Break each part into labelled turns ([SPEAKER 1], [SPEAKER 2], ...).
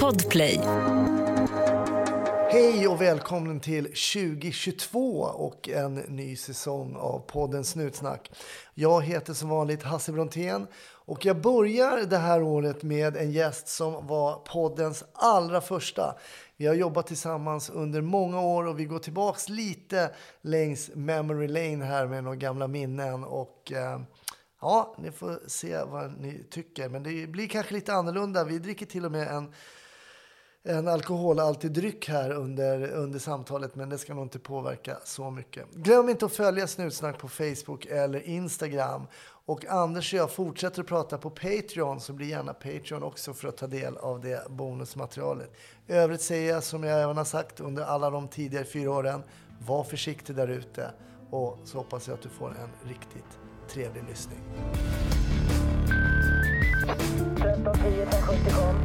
[SPEAKER 1] Podplay.
[SPEAKER 2] Hej och välkommen till 2022 och en ny säsong av podden Snutsnack. Jag heter som vanligt Hasse Brontén och jag börjar det här året med en gäst som var poddens allra första. Vi har jobbat tillsammans under många år och vi går tillbaks lite längs memory lane här med några gamla minnen och eh, ja, ni får se vad ni tycker. Men det blir kanske lite annorlunda. Vi dricker till och med en en alkoholhaltig dryck här under, under samtalet, men det ska nog inte påverka så mycket. Glöm inte att följa Snutsnack på Facebook eller Instagram. Och Anders och jag fortsätter att prata på Patreon, så bli gärna Patreon också för att ta del av det bonusmaterialet. I övrigt säger jag som jag även har sagt under alla de tidigare fyra åren, var försiktig där ute och så hoppas jag att du får en riktigt trevlig lyssning.
[SPEAKER 3] 1310 1070 kom.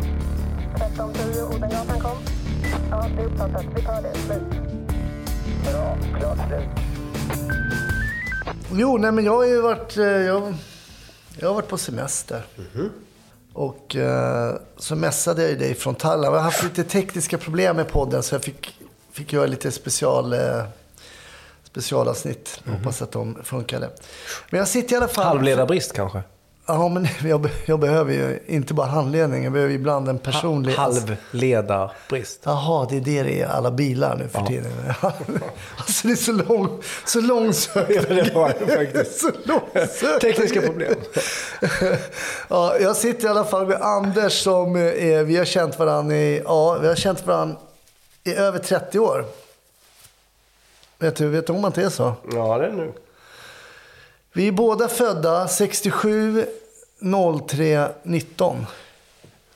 [SPEAKER 3] 1310 Odengatan kom. Ja, det är uppfattat. Vi tar det. Slut. Bra. Klart slut.
[SPEAKER 2] Jo, nej men jag har ju varit, eh, jag, jag har varit på semester.
[SPEAKER 4] Mhm.
[SPEAKER 2] Och eh, så messade jag ju dig från Thailand. Jag har haft lite tekniska problem med podden så jag fick, fick göra lite special, eh, specialavsnitt.
[SPEAKER 4] Mhm.
[SPEAKER 2] Hoppas att de funkade. Men jag sitter i alla fall...
[SPEAKER 4] Halvledarbrist kanske?
[SPEAKER 2] Ja, men jag, be- jag behöver ju inte bara handledning. Jag behöver ibland en personlig...
[SPEAKER 4] Halvledarbrist.
[SPEAKER 2] Jaha, det är det det är i alla bilar nu för tiden. alltså det är så, lång, så långsökt.
[SPEAKER 4] Ja, det var det faktiskt.
[SPEAKER 2] så långsökt.
[SPEAKER 4] Tekniska problem.
[SPEAKER 2] ja, jag sitter i alla fall med Anders som eh, är, vi har känt varandra i, ja, vi har känt varandra i över 30 år. Vet du, vet du om att det är så?
[SPEAKER 4] Ja, det är nu.
[SPEAKER 2] Vi är båda födda 67 03 19.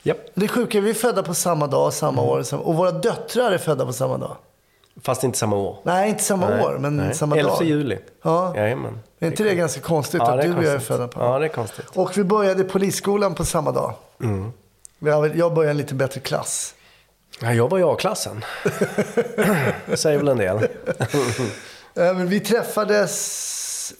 [SPEAKER 4] Japp.
[SPEAKER 2] Det sjuka är vi är födda på samma dag, samma
[SPEAKER 4] Mm.
[SPEAKER 2] år samma- och våra döttrar är födda på samma dag.
[SPEAKER 4] Fast inte samma år.
[SPEAKER 2] Nej, inte samma år, men
[SPEAKER 4] nej.
[SPEAKER 2] samma
[SPEAKER 4] 11
[SPEAKER 2] dag.
[SPEAKER 4] juli.
[SPEAKER 2] Ja.
[SPEAKER 4] Jajamän.
[SPEAKER 2] Är inte det ganska konstigt
[SPEAKER 4] Ja,
[SPEAKER 2] att
[SPEAKER 4] det
[SPEAKER 2] du
[SPEAKER 4] är
[SPEAKER 2] och jag är
[SPEAKER 4] konstigt.
[SPEAKER 2] födda på
[SPEAKER 4] Ja, det är konstigt.
[SPEAKER 2] Och vi började i polisskolan på samma dag.
[SPEAKER 4] Mm.
[SPEAKER 2] Vi har väl- Jag började i en lite bättre klass.
[SPEAKER 4] Ja, jag var i A-klassen. Det säger väl en del.
[SPEAKER 2] Eh, Men vi träffades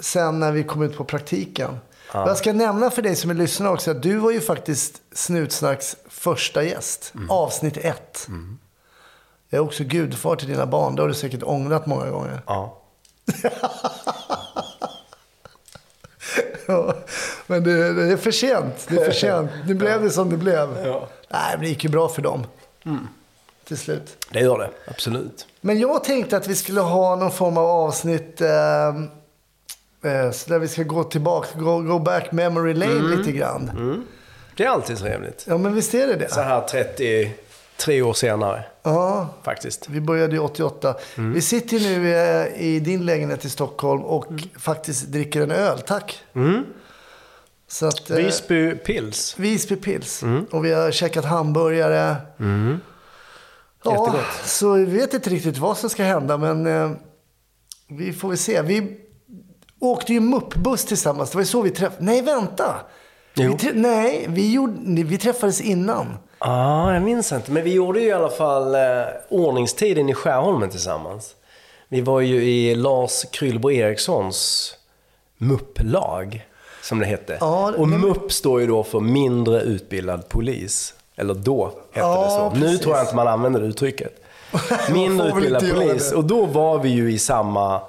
[SPEAKER 2] sen när vi kom ut på praktiken. Jag ska nämna för dig som är lyssnare också att du var ju faktiskt Snutsnacks första gäst. Avsnitt ett. Jag är också gudfar till dina barn. Det har du säkert ångrat många gånger.
[SPEAKER 4] Ja.
[SPEAKER 2] Ja, men det, det är för sent. Det är för sent. Nu blev det som det blev.
[SPEAKER 4] Ja.
[SPEAKER 2] Nej, men det gick ju bra för dem. Till slut.
[SPEAKER 4] Det gör det. Absolut.
[SPEAKER 2] Men jag tänkte att vi skulle ha någon form av avsnitt eh, eh, så där vi ska gå tillbaka, go, go back memory lane lite grann.
[SPEAKER 4] Det är alltid trevligt.
[SPEAKER 2] Ja, men visst är det
[SPEAKER 4] Så
[SPEAKER 2] det?
[SPEAKER 4] här 33 år senare,
[SPEAKER 2] Ja,
[SPEAKER 4] faktiskt.
[SPEAKER 2] vi började ju 88. Vi sitter ju nu eh, i din lägenhet i Stockholm och faktiskt dricker en öl, tack. Så att, eh,
[SPEAKER 4] Visby Pils.
[SPEAKER 2] Visby Pils.
[SPEAKER 4] Mm.
[SPEAKER 2] Och vi har käkat hamburgare. Ja,
[SPEAKER 4] Jättegott.
[SPEAKER 2] så vi vet inte riktigt vad som ska hända, men eh, vi får väl se. Vi åkte ju muppbuss tillsammans. Det var ju så vi träffades. Nej, vänta! Vi
[SPEAKER 4] Jo.
[SPEAKER 2] trä- nej, vi, gjorde, nej, vi träffades innan.
[SPEAKER 4] Ja, ah, jag minns inte. Men vi gjorde ju i alla fall eh, ordningstiden i Skärholmen tillsammans. Vi var ju i Lars Krylbo Erikssons mupplag, som det hette.
[SPEAKER 2] Ja,
[SPEAKER 4] och
[SPEAKER 2] men-
[SPEAKER 4] mupp står ju då för mindre utbildad polis. Eller då hette
[SPEAKER 2] Ja,
[SPEAKER 4] det så. Nu
[SPEAKER 2] precis.
[SPEAKER 4] tror jag inte man använder det uttrycket.
[SPEAKER 2] Man
[SPEAKER 4] Mindre
[SPEAKER 2] får väl
[SPEAKER 4] utbildad
[SPEAKER 2] inte göra
[SPEAKER 4] polis.
[SPEAKER 2] det.
[SPEAKER 4] Och då var vi ju i samma,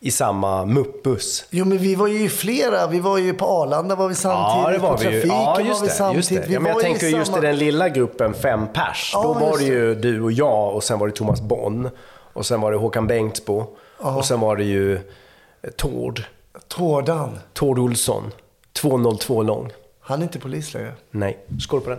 [SPEAKER 4] i samma muppbuss.
[SPEAKER 2] Jo, men vi var ju flera. Vi var ju på Arlanda var vi samtidigt.
[SPEAKER 4] Ja, det
[SPEAKER 2] på
[SPEAKER 4] var vi ju.
[SPEAKER 2] trafiken
[SPEAKER 4] Ja, just
[SPEAKER 2] var vi
[SPEAKER 4] det. Just
[SPEAKER 2] samtidigt.
[SPEAKER 4] det.
[SPEAKER 2] Vi
[SPEAKER 4] Ja, men jag
[SPEAKER 2] var ju
[SPEAKER 4] tänker just i
[SPEAKER 2] samma-
[SPEAKER 4] den lilla gruppen fem pers.
[SPEAKER 2] Ja,
[SPEAKER 4] då var
[SPEAKER 2] just
[SPEAKER 4] det ju du och jag och sen var det Thomas Bonn. Och sen var det Håkan Bengtsbo. Och sen var det ju eh, Tord.
[SPEAKER 2] Tårdan.
[SPEAKER 4] Tord Olsson. 202 lång.
[SPEAKER 2] Han är inte polis längre.
[SPEAKER 4] Nej. Skål på den.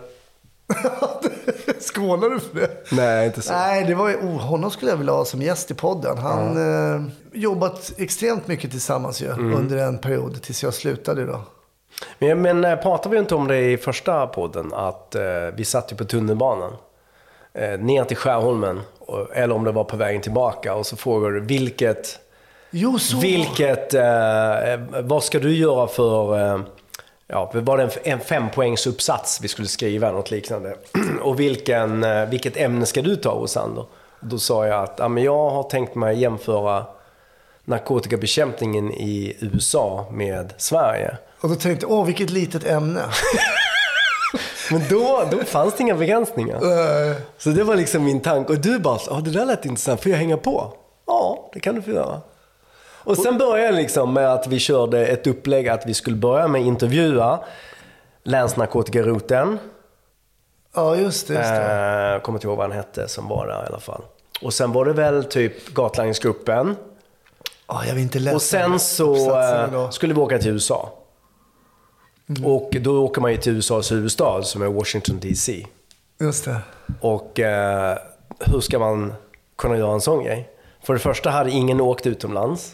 [SPEAKER 2] Skålar du för det?
[SPEAKER 4] Nej, inte så.
[SPEAKER 2] Nej, det var ju, oh, honom skulle jag vilja ha som gäst i podden. Han eh, jobbat extremt mycket tillsammans ju,
[SPEAKER 4] Mm.
[SPEAKER 2] under en period tills jag slutade då.
[SPEAKER 4] Men, men eh, pratade vi inte om det i första podden? Att eh, vi satt ju på tunnelbanan. Eh, ner till Skärholmen. Och, eller om det var på vägen tillbaka. Och så frågade du vilket...
[SPEAKER 2] Jo, så.
[SPEAKER 4] Vilket, eh, vad ska du göra för, eh, ja, var det en, en fempoängsuppsats vi skulle skriva, något liknande. Och vilken, eh, vilket ämne ska du ta, Rosander? Då sa jag att ja, men jag har tänkt mig jämföra narkotikabekämpningen i USA med Sverige.
[SPEAKER 2] Och då tänkte jag, åh vilket litet ämne.
[SPEAKER 4] Men då, då fanns det inga begränsningar.
[SPEAKER 2] Eh,
[SPEAKER 4] Så det var liksom min tanke. Och du bara, ja det där lät intressant, får jag hänga på? Ja, det kan du få göra. Och sen började det liksom med att vi körde ett upplägg att vi skulle börja med att intervjua länsnarkotikaroteln.
[SPEAKER 2] Ja, just det. Just det.
[SPEAKER 4] Eh, kommer inte ihåg vad han hette som var där i alla fall. Och sen var det väl typ Gatlangningsgruppen.
[SPEAKER 2] Ja, jag vill inte läsa
[SPEAKER 4] Och sen så
[SPEAKER 2] uppsatsen
[SPEAKER 4] eh,
[SPEAKER 2] idag.
[SPEAKER 4] skulle vi åka till USA.
[SPEAKER 2] Mm.
[SPEAKER 4] Och då åker man ju till USAs huvudstad som är Washington DC.
[SPEAKER 2] Just det.
[SPEAKER 4] Och eh, hur ska man kunna göra en sån grej? För det första hade ingen åkt utomlands.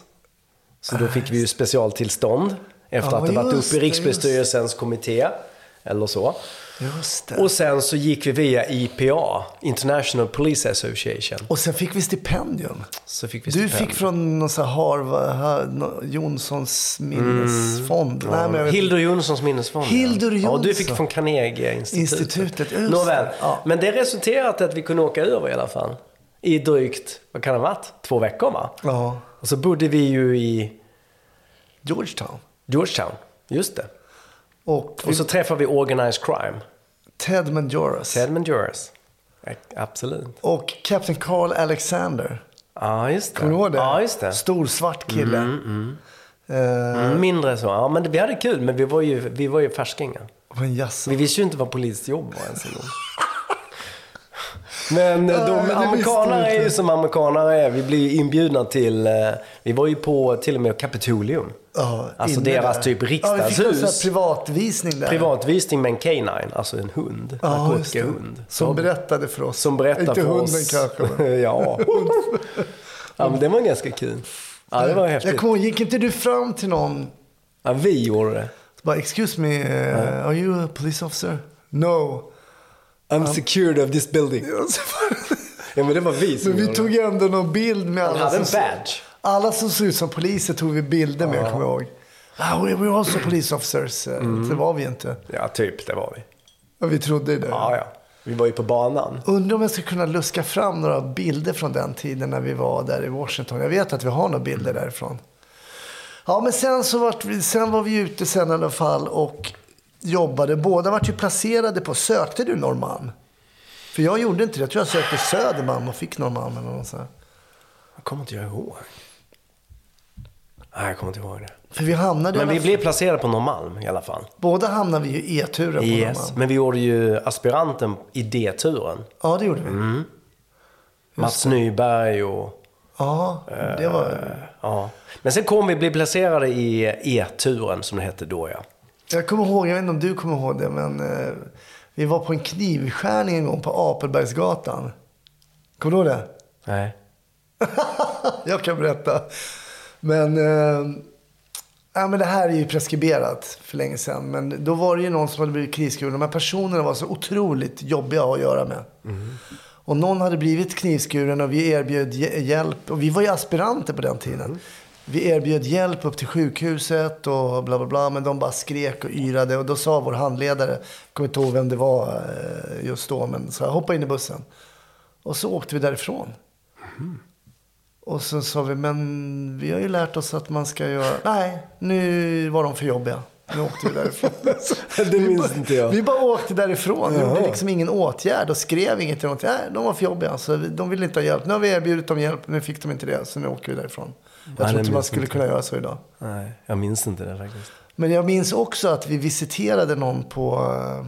[SPEAKER 4] Så då fick vi ju specialtillstånd efter
[SPEAKER 2] Ja,
[SPEAKER 4] att det varit
[SPEAKER 2] just
[SPEAKER 4] uppe i
[SPEAKER 2] det,
[SPEAKER 4] Rikspolisstyrelsens kommitté. Eller så.
[SPEAKER 2] Just det. Och,
[SPEAKER 4] Och sen så gick vi via IPA, International Police Association.
[SPEAKER 2] sen fick vi stipendium.
[SPEAKER 4] Så fick
[SPEAKER 2] Du
[SPEAKER 4] vi stipendium.
[SPEAKER 2] fick från någon sån här Harvard, ha, no, Jonssons minnesfond. Nej, men jag vet inte.
[SPEAKER 4] Mm. Hildur Jonssons minnesfond.
[SPEAKER 2] Hildur
[SPEAKER 4] Ja, du fick
[SPEAKER 2] Jonsson.
[SPEAKER 4] från Carnegie-institutet.
[SPEAKER 2] Institutet, just
[SPEAKER 4] Nåväl,
[SPEAKER 2] det. Ja.
[SPEAKER 4] men det resulterade i att vi kunde åka över i alla fall. I drygt, vad kan det ha varit, två veckor va?
[SPEAKER 2] Ja,
[SPEAKER 4] Och så bodde vi ju i
[SPEAKER 2] Georgetown.
[SPEAKER 4] Georgetown, just det.
[SPEAKER 2] Och,
[SPEAKER 4] Och så träffade vi Organized Crime,
[SPEAKER 2] Ted Majoras.
[SPEAKER 4] Ted Menduras. Ja, Absolut.
[SPEAKER 2] Och Captain Carl Alexander.
[SPEAKER 4] Ja, just det.
[SPEAKER 2] Kommer du ihåg det?
[SPEAKER 4] Ja, just det.
[SPEAKER 2] Stor svart kille. Eh,
[SPEAKER 4] Mm, Mindre så. Ja, men det, vi hade kul, men vi var ju, vi var ju färskingar.
[SPEAKER 2] och en jazz.
[SPEAKER 4] Vi visste ju inte vad polisjobb var ens en gång. Men eh,
[SPEAKER 2] Nej, det
[SPEAKER 4] de
[SPEAKER 2] visste
[SPEAKER 4] amerikanare
[SPEAKER 2] vi
[SPEAKER 4] är
[SPEAKER 2] inte.
[SPEAKER 4] ju som amerikanare är. Vi blir ju inbjudna till, eh, vi var ju på till och med Kapitolium.
[SPEAKER 2] Ja,
[SPEAKER 4] alltså
[SPEAKER 2] inne
[SPEAKER 4] deras
[SPEAKER 2] där.
[SPEAKER 4] typ
[SPEAKER 2] Ja, vi fick en sån här
[SPEAKER 4] riksdagshus.
[SPEAKER 2] privatvisning där.
[SPEAKER 4] Privatvisning med en canine, alltså en hund.
[SPEAKER 2] Ja, just det.
[SPEAKER 4] narkotikahund.
[SPEAKER 2] Som berättade för oss.
[SPEAKER 4] Som berättar
[SPEAKER 2] Inte
[SPEAKER 4] för
[SPEAKER 2] hunden
[SPEAKER 4] oss.
[SPEAKER 2] kanske. men-
[SPEAKER 4] ja. ja, men det var ganska kul. Ja, det var häftigt.
[SPEAKER 2] Jag kommer, ihåg, gick inte du fram till någon
[SPEAKER 4] Ja, vi gjorde det.
[SPEAKER 2] bara, excuse me, eh, are you a police officer? No.
[SPEAKER 4] I'm secured of this building. Ja, men det var vi som
[SPEAKER 2] Men vi
[SPEAKER 4] gjorde
[SPEAKER 2] tog ändå någon bild med
[SPEAKER 4] det. Han
[SPEAKER 2] alla
[SPEAKER 4] hade en
[SPEAKER 2] som,
[SPEAKER 4] badge.
[SPEAKER 2] alla som såg ut som poliser tog vi bilder med, kommer jag ihåg. Ah, we were also police officers. Eh,
[SPEAKER 4] Mm.
[SPEAKER 2] Det var vi inte.
[SPEAKER 4] Ja, typ. Det var vi.
[SPEAKER 2] Och vi trodde ju det.
[SPEAKER 4] Ja, ja. Vi var ju på banan.
[SPEAKER 2] Undrar om jag skulle kunna luska fram några bilder från den tiden när vi var där i Washington. Jag vet att vi har några bilder
[SPEAKER 4] Mm.
[SPEAKER 2] därifrån. Ja, men sen, så vart vi, sen var vi ute sen i alla fall och jobbade. Båda vart ju placerade på... Sökte du Norrmalm? För jag gjorde inte det. Jag tror jag sökte Södermalm och fick Norrmalm eller något sånt. här.
[SPEAKER 4] Jag kommer inte jag ihåg. Nej, jag kommer inte ihåg det.
[SPEAKER 2] För vi hamnade...
[SPEAKER 4] Men
[SPEAKER 2] i
[SPEAKER 4] vi
[SPEAKER 2] alla-
[SPEAKER 4] blev placerade på Norrmalm i alla fall.
[SPEAKER 2] Båda hamnade vi ju i E-turen på
[SPEAKER 4] Yes.
[SPEAKER 2] Norrmalm.
[SPEAKER 4] Men vi gjorde ju aspiranten i D-turen.
[SPEAKER 2] Ja, det gjorde vi.
[SPEAKER 4] Mats Nyberg och...
[SPEAKER 2] Ja, det var...
[SPEAKER 4] Ja. Men sen kom vi bli placerade i E-turen som det hette då ja.
[SPEAKER 2] Jag kommer ihåg, jag vet inte om du kommer ihåg det, men eh, vi var på en knivskärning en gång på Apelbergsgatan. Kommer du ihåg det?
[SPEAKER 4] Nej.
[SPEAKER 2] jag kan berätta. Men, eh, ja, men det här är ju preskriberat för länge sedan. Men då var det ju någon som hade blivit knivskuren. De här personerna var så otroligt jobbiga att göra med. Och någon hade blivit knivskuren och vi erbjöd hj- hjälp. Och vi var ju aspiranter på den tiden.
[SPEAKER 4] Mm.
[SPEAKER 2] Vi erbjöd hjälp upp till sjukhuset och bla bla bla. Men de bara skrek och yrade. Och då sa vår handledare, jag kommer inte ihåg vem det var eh, just då, men så här, hoppa in i bussen. Och så åkte vi därifrån.
[SPEAKER 4] Mm.
[SPEAKER 2] Och så sa vi, men vi har ju lärt oss att man ska göra... Nej, nu var de för jobbiga. Nu åkte vi därifrån.
[SPEAKER 4] Det
[SPEAKER 2] Vi
[SPEAKER 4] minns
[SPEAKER 2] bara-
[SPEAKER 4] inte jag.
[SPEAKER 2] Vi bara åkte därifrån. Vi
[SPEAKER 4] Jaha.
[SPEAKER 2] gjorde liksom ingen åtgärd och skrev inget. eller något. Nej, de var för jobbiga. Så vi, de ville inte ha hjälp. Nu har vi erbjudit dem hjälp. Nu fick de inte det. Så nu åker vi därifrån. Jag
[SPEAKER 4] det
[SPEAKER 2] tror inte man
[SPEAKER 4] minns
[SPEAKER 2] skulle
[SPEAKER 4] inte.
[SPEAKER 2] kunna göra så idag.
[SPEAKER 4] Nej, jag minns inte det faktiskt.
[SPEAKER 2] Men jag minns också att vi visiterade någon på... eh,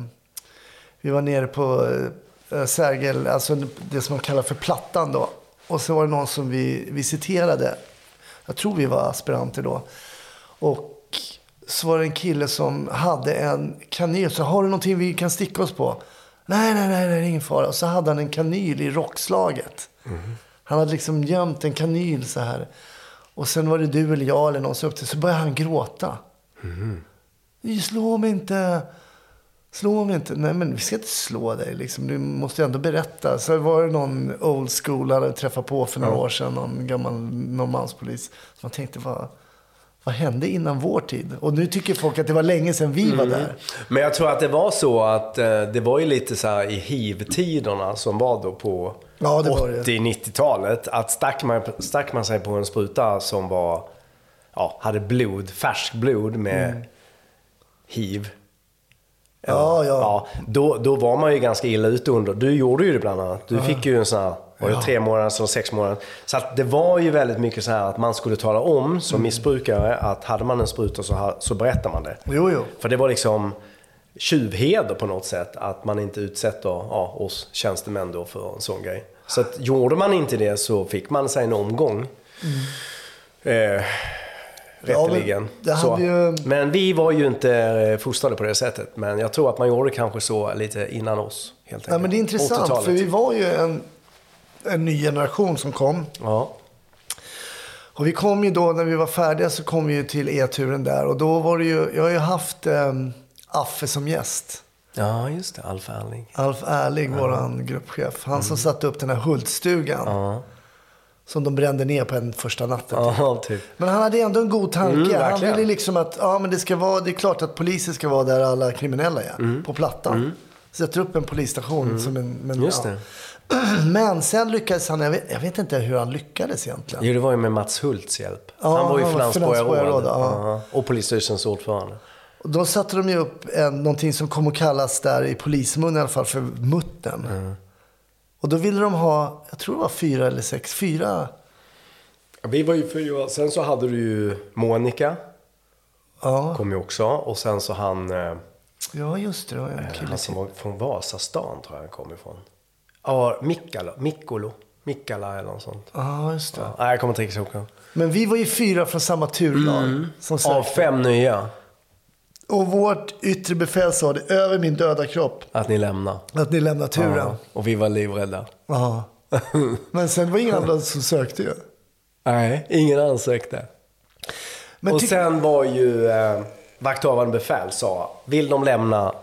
[SPEAKER 2] Vi var nere på eh, Sergel, alltså det som man kallar för Plattan då. Och så var det någon som vi visiterade. Jag tror vi var aspiranter då. Och så var det en kille som hade en kanyl. Så har du någonting vi kan sticka oss på? Nej, nej, nej, det är ingen fara. Och så hade han en kanyl i rockslaget. Han hade liksom gömt en kanyl så här. Och sen var det du eller jag eller någon som upp till. Så började han gråta. "Nej, Slå mig inte. Slå mig inte. Nej, men vi ska inte slå dig. Liksom. Du måste ju ändå berätta. Så var det någon old school han hade träffat på för några år sedan. Någon gammal Norrmalmspolis. Så man tänkte, vad, vad hände innan vår tid? Och nu tycker folk att det var länge sedan vi var där.
[SPEAKER 4] Men jag tror att det var så att eh, det var ju lite så här i hiv-tiderna som var då på
[SPEAKER 2] Ja, det var det.
[SPEAKER 4] 80-90-talet. Att stack man, stack man sig på en spruta som var, Mm. ja, hade blod, färskt blod med hiv.
[SPEAKER 2] Ja, ja.
[SPEAKER 4] då, då var man ju ganska illa ute under. Du gjorde ju det bland annat. Du fick ju en sån här, var det tre månader och sex månader? Så att det var ju väldigt mycket så här att man skulle tala om som missbrukare att hade man en spruta så, här, så berättar man det.
[SPEAKER 2] Jo, jo.
[SPEAKER 4] För det var liksom tjuvheder på något sätt att man inte utsätter ja, oss tjänstemän då för en sån grej. Så att, gjorde man inte det så fick man sig en omgång. Eh,
[SPEAKER 2] Mm. Ja, men
[SPEAKER 4] rätteligen.
[SPEAKER 2] det
[SPEAKER 4] så.
[SPEAKER 2] hade ju-
[SPEAKER 4] Men vi var ju inte eh, fostrade på det sättet. Men jag tror att man gjorde kanske så lite innan oss. Helt
[SPEAKER 2] Nej,
[SPEAKER 4] enkelt.
[SPEAKER 2] men det är intressant,
[SPEAKER 4] 80-talet.
[SPEAKER 2] för vi var ju en, en ny generation som kom.
[SPEAKER 4] Ja.
[SPEAKER 2] Och vi kom ju då, när vi var färdiga, så kom vi ju till E-turen där. Och då var det ju, jag har ju haft ehm, Affe som gäst.
[SPEAKER 4] ja, just det. Alf Erling.
[SPEAKER 2] Alf Ärlig, våran gruppchef. Han
[SPEAKER 4] Mm.
[SPEAKER 2] som satte upp den här Hultstugan. Som de brände ner på en första natten.
[SPEAKER 4] Ja, typ.
[SPEAKER 2] Men han hade ändå en god tanke.
[SPEAKER 4] Mm,
[SPEAKER 2] han
[SPEAKER 4] verkligen.
[SPEAKER 2] ville liksom att, ja men det ska vara, det är klart att polisen ska vara där alla kriminella är.
[SPEAKER 4] Mm.
[SPEAKER 2] På Plattan. Sätter upp en polisstation som en, men,
[SPEAKER 4] Just
[SPEAKER 2] ja.
[SPEAKER 4] det.
[SPEAKER 2] Men sen lyckades han, jag vet, jag vet inte hur han lyckades egentligen.
[SPEAKER 4] Jo, det var ju med Mats Hults hjälp.
[SPEAKER 2] Ja,
[SPEAKER 4] han var ju
[SPEAKER 2] han var finansborgarråd,
[SPEAKER 4] finansborgarråd.
[SPEAKER 2] ja.
[SPEAKER 4] Ja, Och polisstyrelsens ordförande.
[SPEAKER 2] Och Då satte de ju upp en, någonting som kom att kallas där i polismun i alla fall för muttern. Och då ville de ha, jag tror det var fyra eller sex, fyra.
[SPEAKER 4] Vi var ju fyra. Sen så hade du ju Monica.
[SPEAKER 2] Ja,
[SPEAKER 4] Kom ju också. Och sen så han... eh,
[SPEAKER 2] ja just det. Det var en kille
[SPEAKER 4] Han
[SPEAKER 2] till.
[SPEAKER 4] som var från Vasastan tror jag han kom ifrån. Ja, Mikkala, Mikkolo. Mikkala eller något sånt.
[SPEAKER 2] Ja, just det.
[SPEAKER 4] Ja. Nej, jag kommer inte riktigt ihåg.
[SPEAKER 2] Men vi var ju fyra från samma turlag.
[SPEAKER 4] Mm.
[SPEAKER 2] Som
[SPEAKER 4] Av
[SPEAKER 2] sagt.
[SPEAKER 4] fem nya
[SPEAKER 2] Och vårt yttre befäl sa det över min döda kropp
[SPEAKER 4] att ni lämnar.
[SPEAKER 2] att ni lämnar turen.
[SPEAKER 4] Ja, och vi var livrädda.
[SPEAKER 2] Ja. Men sen var det inga andra som sökte ju.
[SPEAKER 4] Nej, ingen ansökte.
[SPEAKER 2] Men
[SPEAKER 4] och
[SPEAKER 2] tyck-
[SPEAKER 4] sen var ju eh, vakthavande befäl sa, vill de lämna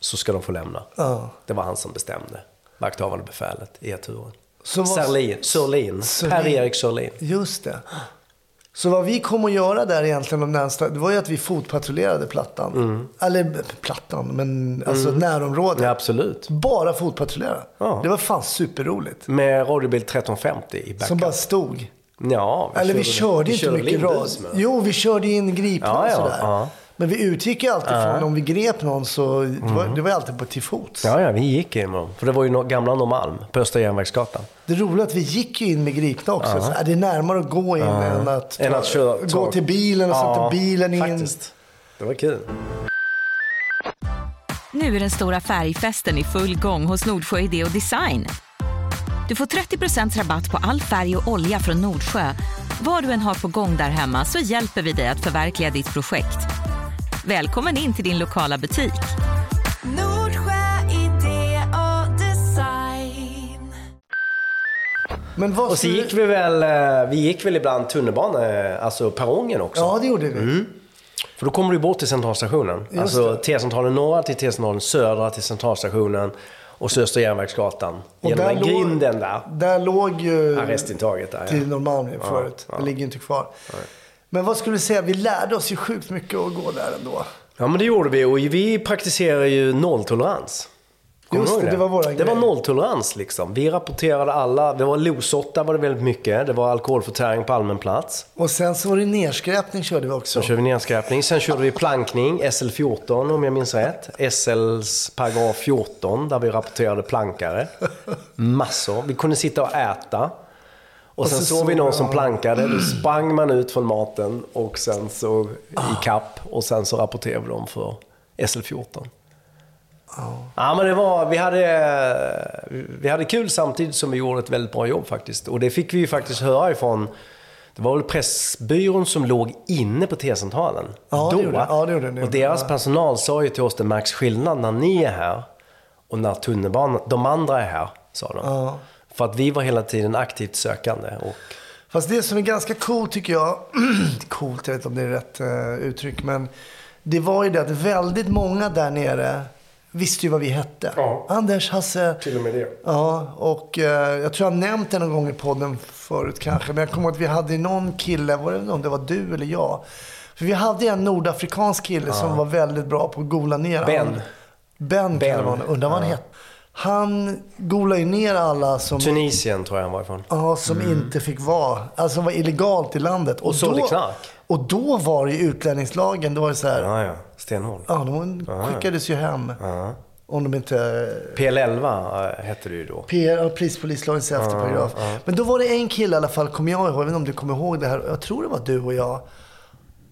[SPEAKER 4] så ska de få lämna.
[SPEAKER 2] Ja.
[SPEAKER 4] Det var han som bestämde. Vakthavande befälet i turen.
[SPEAKER 2] Så vad-
[SPEAKER 4] Sörlin, Sörlin.
[SPEAKER 2] Sörlin.
[SPEAKER 4] Per-Erik Sörlin.
[SPEAKER 2] Just det. Så vad vi kom att göra där egentligen de närmsta, det var ju att vi fotpatrullerade Plattan. Eller Plattan, men alltså närområdet.
[SPEAKER 4] Mm. Ja, absolut.
[SPEAKER 2] Bara fotpatrullera.
[SPEAKER 4] Ja.
[SPEAKER 2] Det var fan superroligt.
[SPEAKER 4] Med radiobil 1350 i backup.
[SPEAKER 2] Som bara stod.
[SPEAKER 4] Ja,
[SPEAKER 2] Eller vi körde inte mycket
[SPEAKER 4] lindus
[SPEAKER 2] rad.
[SPEAKER 4] med.
[SPEAKER 2] Jo, vi körde in gripna
[SPEAKER 4] Ja, ja,
[SPEAKER 2] och sådär.
[SPEAKER 4] ja.
[SPEAKER 2] Men vi utgick ju alltid från, om vi grep någon så, det var, det var ju alltid på till fots.
[SPEAKER 4] Mm. Ja, ja, vi gick in med dem. För det var ju no- gamla Norrmalm, på Östra Järnvägsgatan.
[SPEAKER 2] Det roliga är att vi gick ju in med gripna också. Så, äh, det är närmare att gå in än att,
[SPEAKER 4] Än att köra
[SPEAKER 2] gå
[SPEAKER 4] tåg.
[SPEAKER 2] till bilen och sätta bilen in.
[SPEAKER 4] faktiskt. Det var kul.
[SPEAKER 1] Nu är den stora färgfesten i full gång hos Nordsjö Idé och Design. Du får 30 rabatt på all färg och olja från Nordsjö. Vad du än har på gång där hemma så hjälper vi dig att förverkliga ditt projekt. Välkommen in till din lokala butik.
[SPEAKER 5] Nordsjö idé och design.
[SPEAKER 2] Men vad
[SPEAKER 4] Och så
[SPEAKER 2] skulle-
[SPEAKER 4] gick vi väl, eh, vi gick väl ibland tunnelbana, alltså perrongen också. Mm.
[SPEAKER 2] Ja, det gjorde vi.
[SPEAKER 4] För då kommer du bort till centralstationen. alltså T-centralen norra till T-centralen södra till centralstationen och så Östra Järnvägsgatan. Genom den
[SPEAKER 2] låg-
[SPEAKER 4] grinden där.
[SPEAKER 2] Där låg ju
[SPEAKER 4] Arrestintaget där, ja.
[SPEAKER 2] till Norrmalm ju förut. Det ligger ju inte kvar. Men vad skulle du säga, vi lärde oss ju sjukt mycket att gå där ändå.
[SPEAKER 4] Ja, men det gjorde vi och vi praktiserar ju nolltolerans. Kommer
[SPEAKER 2] Just
[SPEAKER 4] du ihåg
[SPEAKER 2] det, det var våran
[SPEAKER 4] Det
[SPEAKER 2] grej.
[SPEAKER 4] var nolltolerans liksom. Vi rapporterade alla. Det var losotta var det väldigt mycket. Det var alkoholförtäring på allmän plats.
[SPEAKER 2] Och sen så var det nedskräpning körde vi också.
[SPEAKER 4] Då körde vi nedskräpning. Sen körde vi plankning, SL14 om jag minns rätt. SLs paragraf 14 där vi rapporterade plankare. Massor. Vi kunde sitta och äta. Och sen
[SPEAKER 2] så
[SPEAKER 4] såg vi
[SPEAKER 2] såg
[SPEAKER 4] någon
[SPEAKER 2] jag-
[SPEAKER 4] som plankade, då sprang man ut från maten och sen så i kapp och sen så rapporterade vi dem för SL14. Ja, men det var, vi hade, vi hade kul samtidigt som vi gjorde ett väldigt bra jobb faktiskt. Och det fick vi ju faktiskt höra ifrån, det var väl Pressbyrån som låg inne på T-centralen.
[SPEAKER 2] Ja, det
[SPEAKER 4] då.
[SPEAKER 2] gjorde- ja, det gjorde den.
[SPEAKER 4] Och deras personal sa ju till oss, det märks skillnad när ni är här och när tunnelbanan, de andra är här, sa de.
[SPEAKER 2] Ja.
[SPEAKER 4] För att vi var hela tiden aktivt sökande. Och,
[SPEAKER 2] Fast det som är ganska coolt tycker jag, coolt, jag vet inte om det är rätt eh, uttryck, men det var ju det att väldigt många där nere visste ju vad vi hette.
[SPEAKER 4] Ja.
[SPEAKER 2] Anders, Hasse.
[SPEAKER 4] Till och med det.
[SPEAKER 2] Ja, och eh, jag tror jag har nämnt det någon gång i podden förut kanske, men jag kommer ihåg att vi hade någon kille, var det, om det var du eller jag? För vi hade en nordafrikansk kille som var väldigt bra på att gola ner
[SPEAKER 4] Ben.
[SPEAKER 2] alla. Ben.
[SPEAKER 4] Ben.
[SPEAKER 2] Ben, ben. undrar vad han hette. Han golade ju ner alla som
[SPEAKER 4] Tunisien tror jag han var ifrån.
[SPEAKER 2] Ja, som inte fick vara. Alltså som var illegalt i landet. Och,
[SPEAKER 4] sålde knark.
[SPEAKER 2] Och då var det ju utlänningslagen, då var det så här,
[SPEAKER 4] Ja, ja. Stenhård.
[SPEAKER 2] ja, de skickades ju hem. Om de inte
[SPEAKER 4] PL11 eh, hette det ju då.
[SPEAKER 2] PR, ja, prispolislagen säger efterparagraf. Men då var det en kille i alla fall, kommer jag ihåg, jag vet inte om du kommer ihåg det här, jag tror det var du och jag.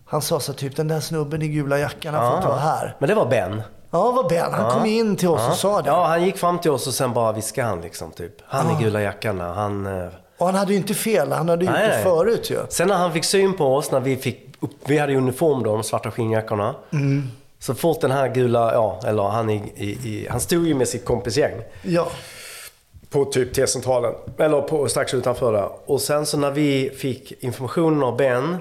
[SPEAKER 2] Han sa så här, typ, den där snubben i gula jackan, han får inte vara här.
[SPEAKER 4] Men det var Ben.
[SPEAKER 2] Ja, vad Ben. Han kom in till oss och sa det. Ah.
[SPEAKER 4] Ja, han gick fram till oss och sen bara viskade han liksom typ. Han i gula jackan, han... eh,
[SPEAKER 2] Och han hade ju inte fel, han hade ju gjort
[SPEAKER 4] Nej,
[SPEAKER 2] det
[SPEAKER 4] nej.
[SPEAKER 2] förut ju.
[SPEAKER 4] Sen när han fick syn på oss, när vi fick upp, vi hade ju uniform då, de svarta skinnjackorna.
[SPEAKER 2] Mm.
[SPEAKER 4] Så fort den här gula, ja, eller han, i, i, i, han stod ju med sitt kompisgäng
[SPEAKER 2] Ja.
[SPEAKER 4] på typ T-centralen, eller på, strax utanför där. Och sen så när vi fick informationen av Ben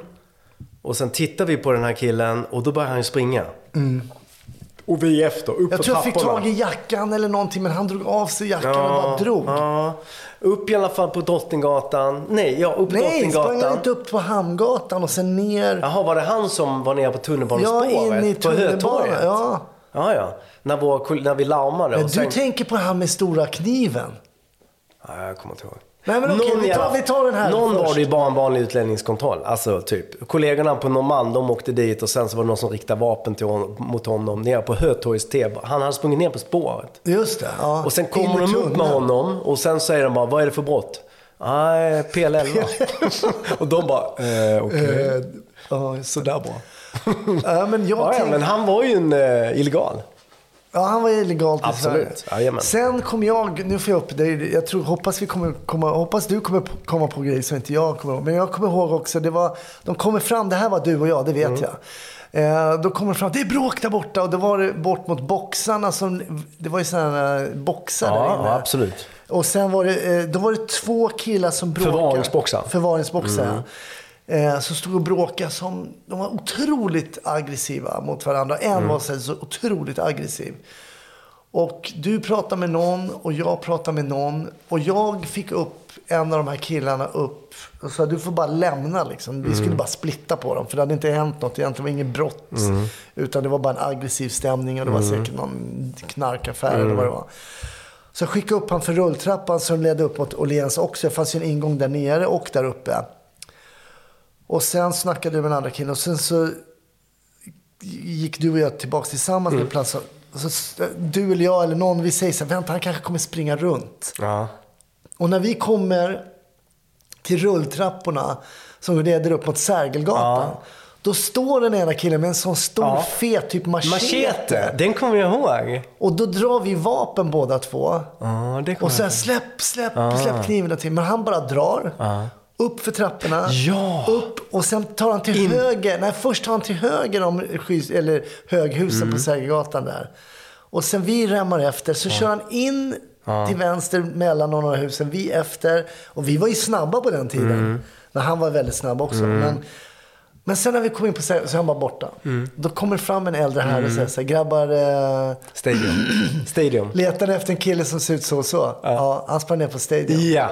[SPEAKER 4] och sen tittade vi på den här killen och då började han ju springa. Och vi efter, upp
[SPEAKER 2] Mm. Jag
[SPEAKER 4] för
[SPEAKER 2] tror jag
[SPEAKER 4] trapporna.
[SPEAKER 2] fick tag i jackan eller någonting, men han drog av sig jackan och bara drog.
[SPEAKER 4] Ja. Upp i alla fall på Drottninggatan. Nej, ja, upp
[SPEAKER 2] Nej, sprang han
[SPEAKER 4] Drottninggatan.
[SPEAKER 2] inte upp på Hamngatan och sen ner?
[SPEAKER 4] Jaha, var det han som var nere på tunnelbanespåret?
[SPEAKER 2] Ja, in i
[SPEAKER 4] på Hötorget?
[SPEAKER 2] tunnelbanan, ja.
[SPEAKER 4] ja, ja. När, vår, kol- när vi larmade.
[SPEAKER 2] Men
[SPEAKER 4] och
[SPEAKER 2] du tänker på han med stora kniven.
[SPEAKER 4] ja, jag kommer inte ihåg.
[SPEAKER 2] Nej, men okej,
[SPEAKER 4] Någon
[SPEAKER 2] vi tar-
[SPEAKER 4] jävla-
[SPEAKER 2] vi tar den här
[SPEAKER 4] Någon var
[SPEAKER 2] först.
[SPEAKER 4] det ju bara en vanlig utlänningskontroll. Alltså typ. Kollegorna på Norrmalm, de åkte dit och sen så var det någon som riktade vapen till hon, mot honom nere på Hötorgets T. Han hade sprungit ner på spåret.
[SPEAKER 2] Just det. Ja.
[SPEAKER 4] Och sen
[SPEAKER 2] In i
[SPEAKER 4] kommer de upp med
[SPEAKER 2] tunneln.
[SPEAKER 4] honom och sen säger de bara, vad är det för brott? Nej, PL11. och de bara, eh, okej.
[SPEAKER 2] Eh, Ja, sådär bra. ja, men jag
[SPEAKER 4] Ja, ja,
[SPEAKER 2] tänkte-
[SPEAKER 4] men han var ju en eh, illegal.
[SPEAKER 2] Ja, han var illegalt i
[SPEAKER 4] Absolut.
[SPEAKER 2] Sverige.
[SPEAKER 4] Jajamän.
[SPEAKER 2] Sen kom jag, nu får jag upp dig, jag tror, hoppas, vi kommer, komma, hoppas du kommer på- komma på grejer som inte jag kommer ihåg. Men jag kommer ihåg också, det var, de kommer fram, det här var du och jag, det vet
[SPEAKER 4] Mm.
[SPEAKER 2] jag. Eh, då kommer de fram, det är bråk där borta och då var det bort mot boxarna som, det var ju sådana eh, boxar där
[SPEAKER 4] Ja,
[SPEAKER 2] inne.
[SPEAKER 4] ja, absolut.
[SPEAKER 2] Och sen var det, eh, då var det två killar som bråkade.
[SPEAKER 4] Förvaringsboxar.
[SPEAKER 2] Förvaringsboxar, ja. Eh, Som stod och bråkade som, de var otroligt aggressiva mot varandra. En var så, här så otroligt aggressiv. Och du pratade med någon och jag pratade med någon. Och jag fick upp en av de här killarna upp och sa du får bara lämna liksom. Vi skulle bara splitta på dem. För det hade inte hänt något egentligen. Det var inget brott. Utan det var bara en aggressiv stämning och det var säkert någon knarkaffär eller vad det var. Så jag skickade upp han för rulltrappan som ledde upp mot Åhléns också. Det fanns ju en ingång där nere och där uppe. Och sen snackade du med den andra killen och sen så gick du och jag tillbaka tillsammans
[SPEAKER 4] Mm.
[SPEAKER 2] till platsen. Och så s- du eller jag eller någon, vi säger så här, vänta han kanske kommer springa runt.
[SPEAKER 4] Ja.
[SPEAKER 2] Och när vi kommer till rulltrapporna som leder upp mot Sergelgatan. Då står den ena killen med en sån stor
[SPEAKER 4] Ja.
[SPEAKER 2] fet typ machete.
[SPEAKER 4] Machete, den kommer jag ihåg.
[SPEAKER 2] Och då drar vi vapen båda två.
[SPEAKER 4] Ja, det
[SPEAKER 2] Och
[SPEAKER 4] kommer
[SPEAKER 2] så här,
[SPEAKER 4] jag ihåg.
[SPEAKER 2] släpp, släpp, släpp kniven och till. Men han bara drar. Upp för trapporna.
[SPEAKER 4] Ja.
[SPEAKER 2] Upp och sen tar han till höger. Nej, först tar han till höger om skys- eller höghusen på Sergelgatan där. Och sen vi remmar efter. Så kör han in till vänster mellan några av husen. Vi efter. Och vi var ju snabba på den tiden. Men han var väldigt snabb också. Men, men sen när vi kom in på Sergelgatan så är han bara borta. Då kommer fram en äldre herre och säger så här, grabbar. Eh,
[SPEAKER 4] Stadium. Stadium.
[SPEAKER 2] Letade efter en kille som ser ut så och så. Ja. han sprang ner på stadion.
[SPEAKER 4] Ja.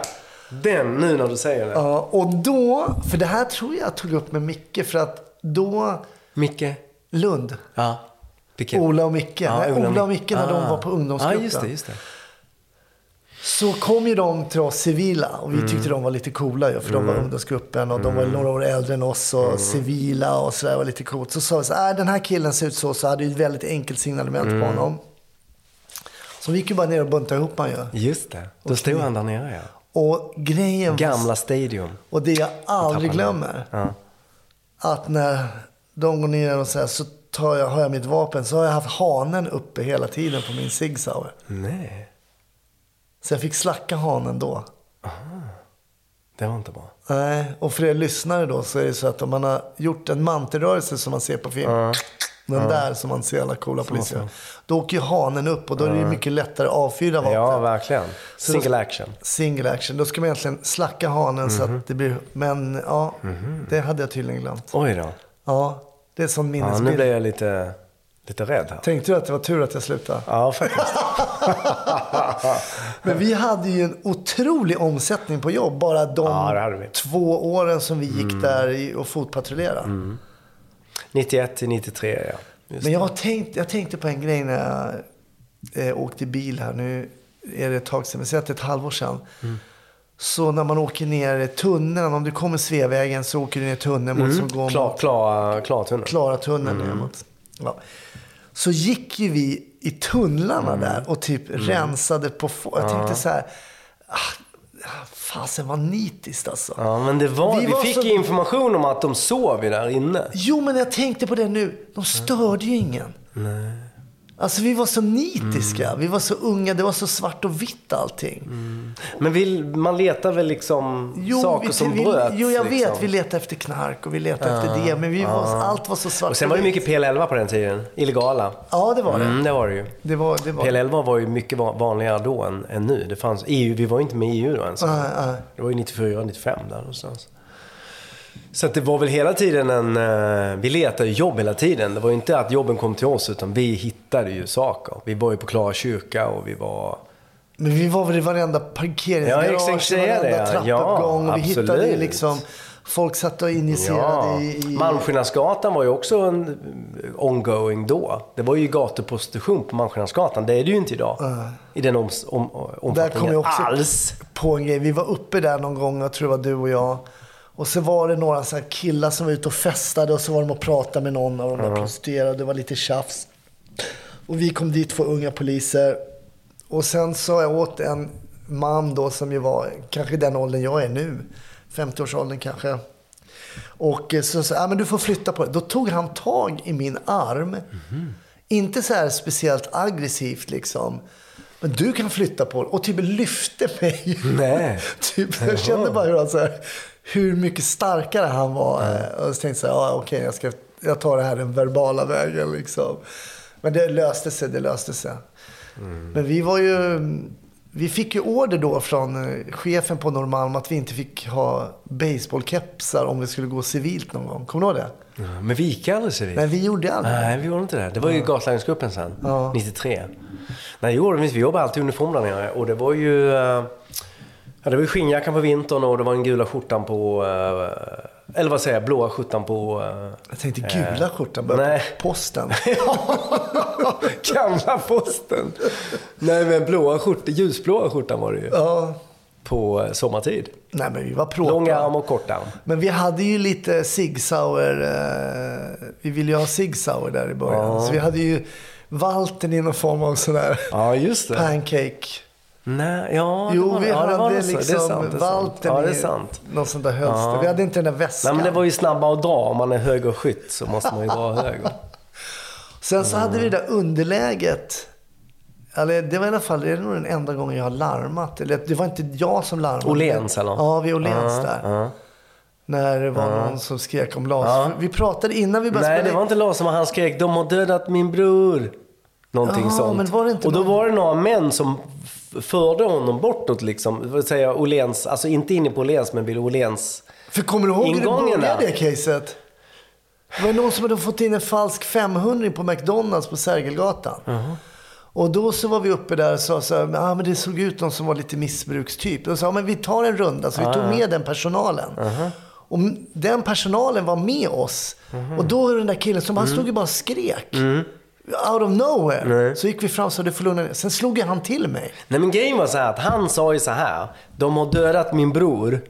[SPEAKER 4] Den, nu när du säger det.
[SPEAKER 2] Ja, och då, för det här tror jag tog upp med Micke för att då,
[SPEAKER 4] Micke.
[SPEAKER 2] Lund,
[SPEAKER 4] Ja. Vilken?
[SPEAKER 2] Ola och Micke, nej, Ola och Micke när de
[SPEAKER 4] Ah.
[SPEAKER 2] var på ungdomsgruppen.
[SPEAKER 4] Ja, just det, just det.
[SPEAKER 2] Så kom ju de till oss civila och
[SPEAKER 4] Mm.
[SPEAKER 2] vi tyckte de var lite coola ju, för de var ungdomsgruppen och de var några år äldre än oss och
[SPEAKER 4] Mm.
[SPEAKER 2] civila och sådär var lite coolt. Så sa vi så här, "Äh, den här killen ser ut så så hade ju ett väldigt enkelt signalement
[SPEAKER 4] Mm.
[SPEAKER 2] på honom. Så vi gick ju bara ner och buntade ihop han ju.
[SPEAKER 4] Just det. Då stod han där nere ja.
[SPEAKER 2] Och grejen var-
[SPEAKER 4] Gamla Stadium.
[SPEAKER 2] Och det jag aldrig
[SPEAKER 4] Tappar den.
[SPEAKER 2] glömmer,
[SPEAKER 4] Ja.
[SPEAKER 2] att när de går ner och så, här, så tar jag, har jag mitt vapen, så har jag haft hanen uppe hela tiden på min Sig Sauer.
[SPEAKER 4] Nej,
[SPEAKER 2] Så jag fick slacka hanen då.
[SPEAKER 4] det var inte bra.
[SPEAKER 2] Nej, och för er lyssnare då så är det så att om man har gjort en mantelrörelse som man ser på film, den där som man ser alla coola poliser göra, då åker ju hanen upp och då är det ju mycket lättare att avfyra vapnet.
[SPEAKER 4] Ja, verkligen.
[SPEAKER 2] Så då-
[SPEAKER 4] Single action.
[SPEAKER 2] Single action. Då ska man egentligen slacka hanen så att det blir... Men ja, det hade jag tydligen glömt.
[SPEAKER 4] Oj då.
[SPEAKER 2] Ja, det är sån
[SPEAKER 4] Ja,
[SPEAKER 2] minnesbild.
[SPEAKER 4] nu blev jag lite, lite rädd här.
[SPEAKER 2] Tänkte du att det var tur att jag slutade?
[SPEAKER 4] Ja, faktiskt.
[SPEAKER 2] Men vi hade ju en otrolig omsättning på jobb. Bara de
[SPEAKER 4] Ja, det hade vi. Mm.
[SPEAKER 2] två åren som vi gick där i- och fotpatrullerade.
[SPEAKER 4] 91 till 93 ja. Mm. Just
[SPEAKER 2] Men jag, har tänkt, jag tänkte på en grej när
[SPEAKER 4] Mm.
[SPEAKER 2] jag eh, åkte bil här. Nu är det ett tag sedan, men säg att det är ett halvår sedan. Så när man åker ner i tunneln, om du kommer Sveavägen så åker du ner tunneln
[SPEAKER 4] Mm,
[SPEAKER 2] mot som går
[SPEAKER 4] Klar,
[SPEAKER 2] mot
[SPEAKER 4] klar, eh, klar tunnel.
[SPEAKER 2] Klaratunneln mm. neråt. Ja. Så gick ju vi i tunnlarna
[SPEAKER 4] Mm.
[SPEAKER 2] där och typ rensade på få. Jag tänkte så här, ah, fasen vad nitiskt alltså.
[SPEAKER 4] Ja, men det var,
[SPEAKER 2] Vi
[SPEAKER 4] vi,
[SPEAKER 2] var
[SPEAKER 4] fick
[SPEAKER 2] så-
[SPEAKER 4] ju information om att de sov ju där inne.
[SPEAKER 2] Jo, men jag tänkte på det nu. De störde ju ingen. Nej. Alltså vi var så nitiska.
[SPEAKER 4] Mm.
[SPEAKER 2] Vi var så unga. Det var så svart och vitt allting.
[SPEAKER 4] Men vill, man letar väl liksom
[SPEAKER 2] Jo,
[SPEAKER 4] Mm. saker
[SPEAKER 2] vi,
[SPEAKER 4] som
[SPEAKER 2] vi,
[SPEAKER 4] bröts?
[SPEAKER 2] Jo, jag
[SPEAKER 4] liksom.
[SPEAKER 2] vet. Vi letade efter knark och vi letade efter det. Men vi var, allt var så svart
[SPEAKER 4] Och sen var det mycket PL11 på den tiden. Illegala.
[SPEAKER 2] Ja, det var det.
[SPEAKER 4] Mm, det var det ju.
[SPEAKER 2] Det var... Det var.
[SPEAKER 4] PL11 var ju mycket va- vanligare då än, än nu. Det fanns, EU, vi var ju inte med i EU då ens.
[SPEAKER 2] Nej, nej.
[SPEAKER 4] Det var ju 94, 95 där någonstans. Så att det var väl hela tiden en... eh, Vi letade ju jobb hela tiden. Det var ju inte att jobben kom till oss, utan vi hittade ju saker. Vi var ju på Klara kyrka och vi var...
[SPEAKER 2] Men vi var väl i varenda parkeringsgarage,
[SPEAKER 4] Ja, jag
[SPEAKER 2] ja,
[SPEAKER 4] tänkte
[SPEAKER 2] i
[SPEAKER 4] säga
[SPEAKER 2] varenda
[SPEAKER 4] det, ja. Ja,
[SPEAKER 2] trappuppgång. och vi
[SPEAKER 4] absolut.
[SPEAKER 2] hittade ju liksom... Folk satt och injicerade i... i
[SPEAKER 4] Malmskillnadsgatan var ju också en eh, ongoing då. Det var ju gatuprostitution på Malmskillnadsgatan. Det är det ju inte idag. I den oms, om,
[SPEAKER 2] Där kom
[SPEAKER 4] omfattningen
[SPEAKER 2] jag också
[SPEAKER 4] alls.
[SPEAKER 2] på en grej. Vi var uppe där någon gång, jag tror det var du och jag. Och så var det några så här killar som var ute och festade och så var de och pratade med någon av de där prostituerade. Det var lite tjafs. Och vi kom dit, två unga poliser. Och sen sa jag åt en man då som ju var kanske den åldern jag är nu. 50-årsåldern kanske. Och eh, så sa ah, men du får flytta på dig. Då tog han tag i min arm. Inte så här speciellt aggressivt liksom. Men du kan flytta på dig. Och typ lyfte mig.
[SPEAKER 4] Nej.
[SPEAKER 2] typ, jag kände bara hur, han, så här, hur mycket starkare han var. Eh, Och så tänkte jag, ah, okej jag, ska, jag tar det här den verbala vägen liksom. Men det löste sig, det löste sig.
[SPEAKER 4] Mm.
[SPEAKER 2] Men vi var ju... Vi fick ju order då från eh, chefen på Norrmalm att vi inte fick ha baseballkepsar om vi skulle gå civilt någon gång. Kommer du ihåg det?
[SPEAKER 4] Men vi gick aldrig så vi.
[SPEAKER 2] Nej, vi gjorde aldrig det.
[SPEAKER 4] Nej, vi gjorde inte det. Det var ju Gatlagningsgruppen sen, 93. Nej, jo, vi jobbade alltid i uniform där nere och det var ju... eh, Ja, det var ju skinnjackan på vintern och det var den gula skjortan på... eh, Eller vad säger jag? Blåa skjortan på... eh,
[SPEAKER 2] Jag tänkte gula skjortan, bara
[SPEAKER 4] nej.
[SPEAKER 2] på posten.
[SPEAKER 4] Gamla posten! Nej, men blåa skjortan, ljusblåa skjortan var det ju.
[SPEAKER 2] ja.
[SPEAKER 4] På eh, sommartid.
[SPEAKER 2] Nej, men vi var pråtar.
[SPEAKER 4] Lång arm och kort arm.
[SPEAKER 2] Men vi hade ju lite Sig Sauer. Eh, vi ville ju ha Sig Sauer där i början. Så vi hade ju valten i någon form av sån där
[SPEAKER 4] Ja, just det.
[SPEAKER 2] pancake.
[SPEAKER 4] Nej, ja, det
[SPEAKER 2] Jo,
[SPEAKER 4] var,
[SPEAKER 2] vi
[SPEAKER 4] ja, det var
[SPEAKER 2] hade
[SPEAKER 4] nog så.
[SPEAKER 2] liksom
[SPEAKER 4] det är sant, det är sant.
[SPEAKER 2] valten
[SPEAKER 4] Ja, det är
[SPEAKER 2] i
[SPEAKER 4] sant.
[SPEAKER 2] någon sån där hölster. Vi hade inte den där
[SPEAKER 4] Nej,
[SPEAKER 2] väskan.
[SPEAKER 4] men det var ju snabba att dra. Om man är högerskytt så måste man ju dra höger.
[SPEAKER 2] Sen så hade vi det där
[SPEAKER 4] Mm.
[SPEAKER 2] underläget. Eller det var i alla fall det är nog den enda gången jag har larmat. Eller det var inte jag som larmade.
[SPEAKER 4] Åhléns, eller?
[SPEAKER 2] Ja, vid Åhléns där. När det var någon som skrek om Lars. Vi pratade innan vi började
[SPEAKER 4] Nej,
[SPEAKER 2] spela
[SPEAKER 4] det var
[SPEAKER 2] in.
[SPEAKER 4] inte Lars som han skrek “De har dödat min bror”. Någonting
[SPEAKER 2] Jaha,
[SPEAKER 4] sånt.
[SPEAKER 2] men var det inte
[SPEAKER 4] och då
[SPEAKER 2] någon-
[SPEAKER 4] var det några män som f- förde honom bortåt liksom. Det vill säga Åhléns, alltså inte inne på Åhléns men vid Åhléns.
[SPEAKER 2] För kommer du ihåg hur det
[SPEAKER 4] Ingången
[SPEAKER 2] började
[SPEAKER 4] där.
[SPEAKER 2] det caset? Det var ju någon som hade fått in en falsk 500 på McDonalds på Sergelgatan. Och då så var vi uppe där och sa så här, ah, men det såg ut någon som var lite missbrukstyp. Och sa, ah, men vi tar en runda. Så vi
[SPEAKER 4] Ah,
[SPEAKER 2] tog med den personalen. Och m- den personalen var med oss. Och då var den där killen som,
[SPEAKER 4] Mm.
[SPEAKER 2] han stod ju bara och skrek. Out of nowhere. Så gick vi fram och sa, du får lugna ner dig." Sen slog ju han till mig.
[SPEAKER 4] Nej men grejen var så här att han sa ju så här. De har dödat min bror.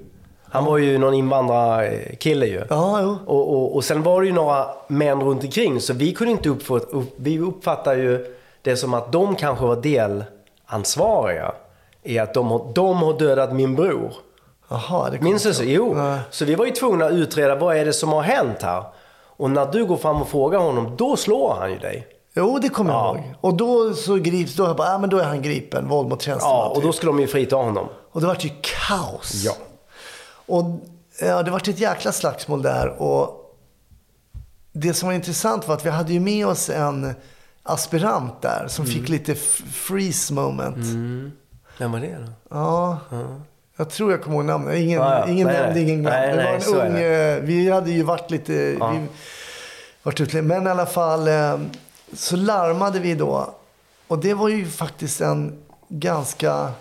[SPEAKER 4] Han var ju någon invandrarkille ju.
[SPEAKER 2] Ja, jo.
[SPEAKER 4] Och, och, och sen var det ju några män runt omkring så vi kunde inte uppfatta, upp, vi uppfattar ju det som att de kanske var delansvariga i att de har, de har dödat min bror.
[SPEAKER 2] Jaha, det kom
[SPEAKER 4] Minns du? så? Jo.
[SPEAKER 2] Nej.
[SPEAKER 4] Så vi var ju tvungna att utreda vad är det som har hänt här. Och när du går fram och frågar honom, då slår han ju dig.
[SPEAKER 2] Jo, det kommer
[SPEAKER 4] Ja.
[SPEAKER 2] jag ihåg. Och då så grips, då, jag bara, ah, men då är han gripen, våld mot tjänsteman.
[SPEAKER 4] Ja, och
[SPEAKER 2] typ.
[SPEAKER 4] då skulle de ju frita honom.
[SPEAKER 2] och det vart ju kaos.
[SPEAKER 4] Ja.
[SPEAKER 2] Och ja, det vart ett jäkla slagsmål där. Och det som var intressant var att vi hade ju med oss en aspirant där som
[SPEAKER 4] Mm.
[SPEAKER 2] fick lite f- freeze moment.
[SPEAKER 4] Vem var det då?
[SPEAKER 2] Ja. Jag tror jag kommer ihåg namnet. Ingen,
[SPEAKER 4] Ja, ja.
[SPEAKER 2] ingen
[SPEAKER 4] Nej,
[SPEAKER 2] nämnd,
[SPEAKER 4] nej.
[SPEAKER 2] ingen glömd.
[SPEAKER 4] Nej,
[SPEAKER 2] Det
[SPEAKER 4] nej, så
[SPEAKER 2] var
[SPEAKER 4] är
[SPEAKER 2] en ung... eh, Vi hade ju varit lite... Vi, varit ute, men i alla fall eh, så larmade vi då. Och det var ju faktiskt en ganska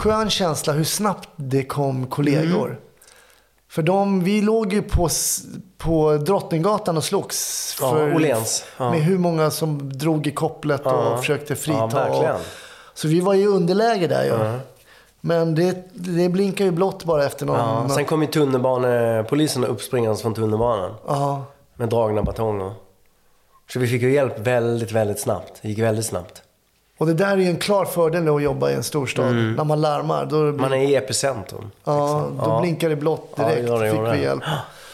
[SPEAKER 2] skön känsla hur snabbt det kom kollegor.
[SPEAKER 4] Mm.
[SPEAKER 2] För de, vi låg ju på, s- på Drottninggatan och slogs.
[SPEAKER 4] Ja,
[SPEAKER 2] För,
[SPEAKER 4] Åhléns. Ja.
[SPEAKER 2] Med hur många som drog i kopplet och
[SPEAKER 4] Ja.
[SPEAKER 2] försökte
[SPEAKER 4] Ja,
[SPEAKER 2] frita.
[SPEAKER 4] verkligen. Mm.
[SPEAKER 2] och, så vi var ju i underläge där ju. Men det, det blinkar ju blått bara efter någon...
[SPEAKER 4] Ja,
[SPEAKER 2] någon-
[SPEAKER 4] sen kom ju tunnelbanepoliserna uppspringandes från tunnelbanan
[SPEAKER 2] ja.
[SPEAKER 4] med dragna batonger. Så vi fick ju hjälp väldigt, väldigt snabbt. Det gick väldigt snabbt.
[SPEAKER 2] Och det där är ju en klar fördel att jobba i en storstad. När man larmar, då,
[SPEAKER 4] Mm. Man är i epicentrum.
[SPEAKER 2] ja,
[SPEAKER 4] liksom.
[SPEAKER 2] då blinkar det blått
[SPEAKER 4] Ja, det
[SPEAKER 2] direkt.
[SPEAKER 4] gör det, gör
[SPEAKER 2] fick vi
[SPEAKER 4] det.
[SPEAKER 2] hjälp.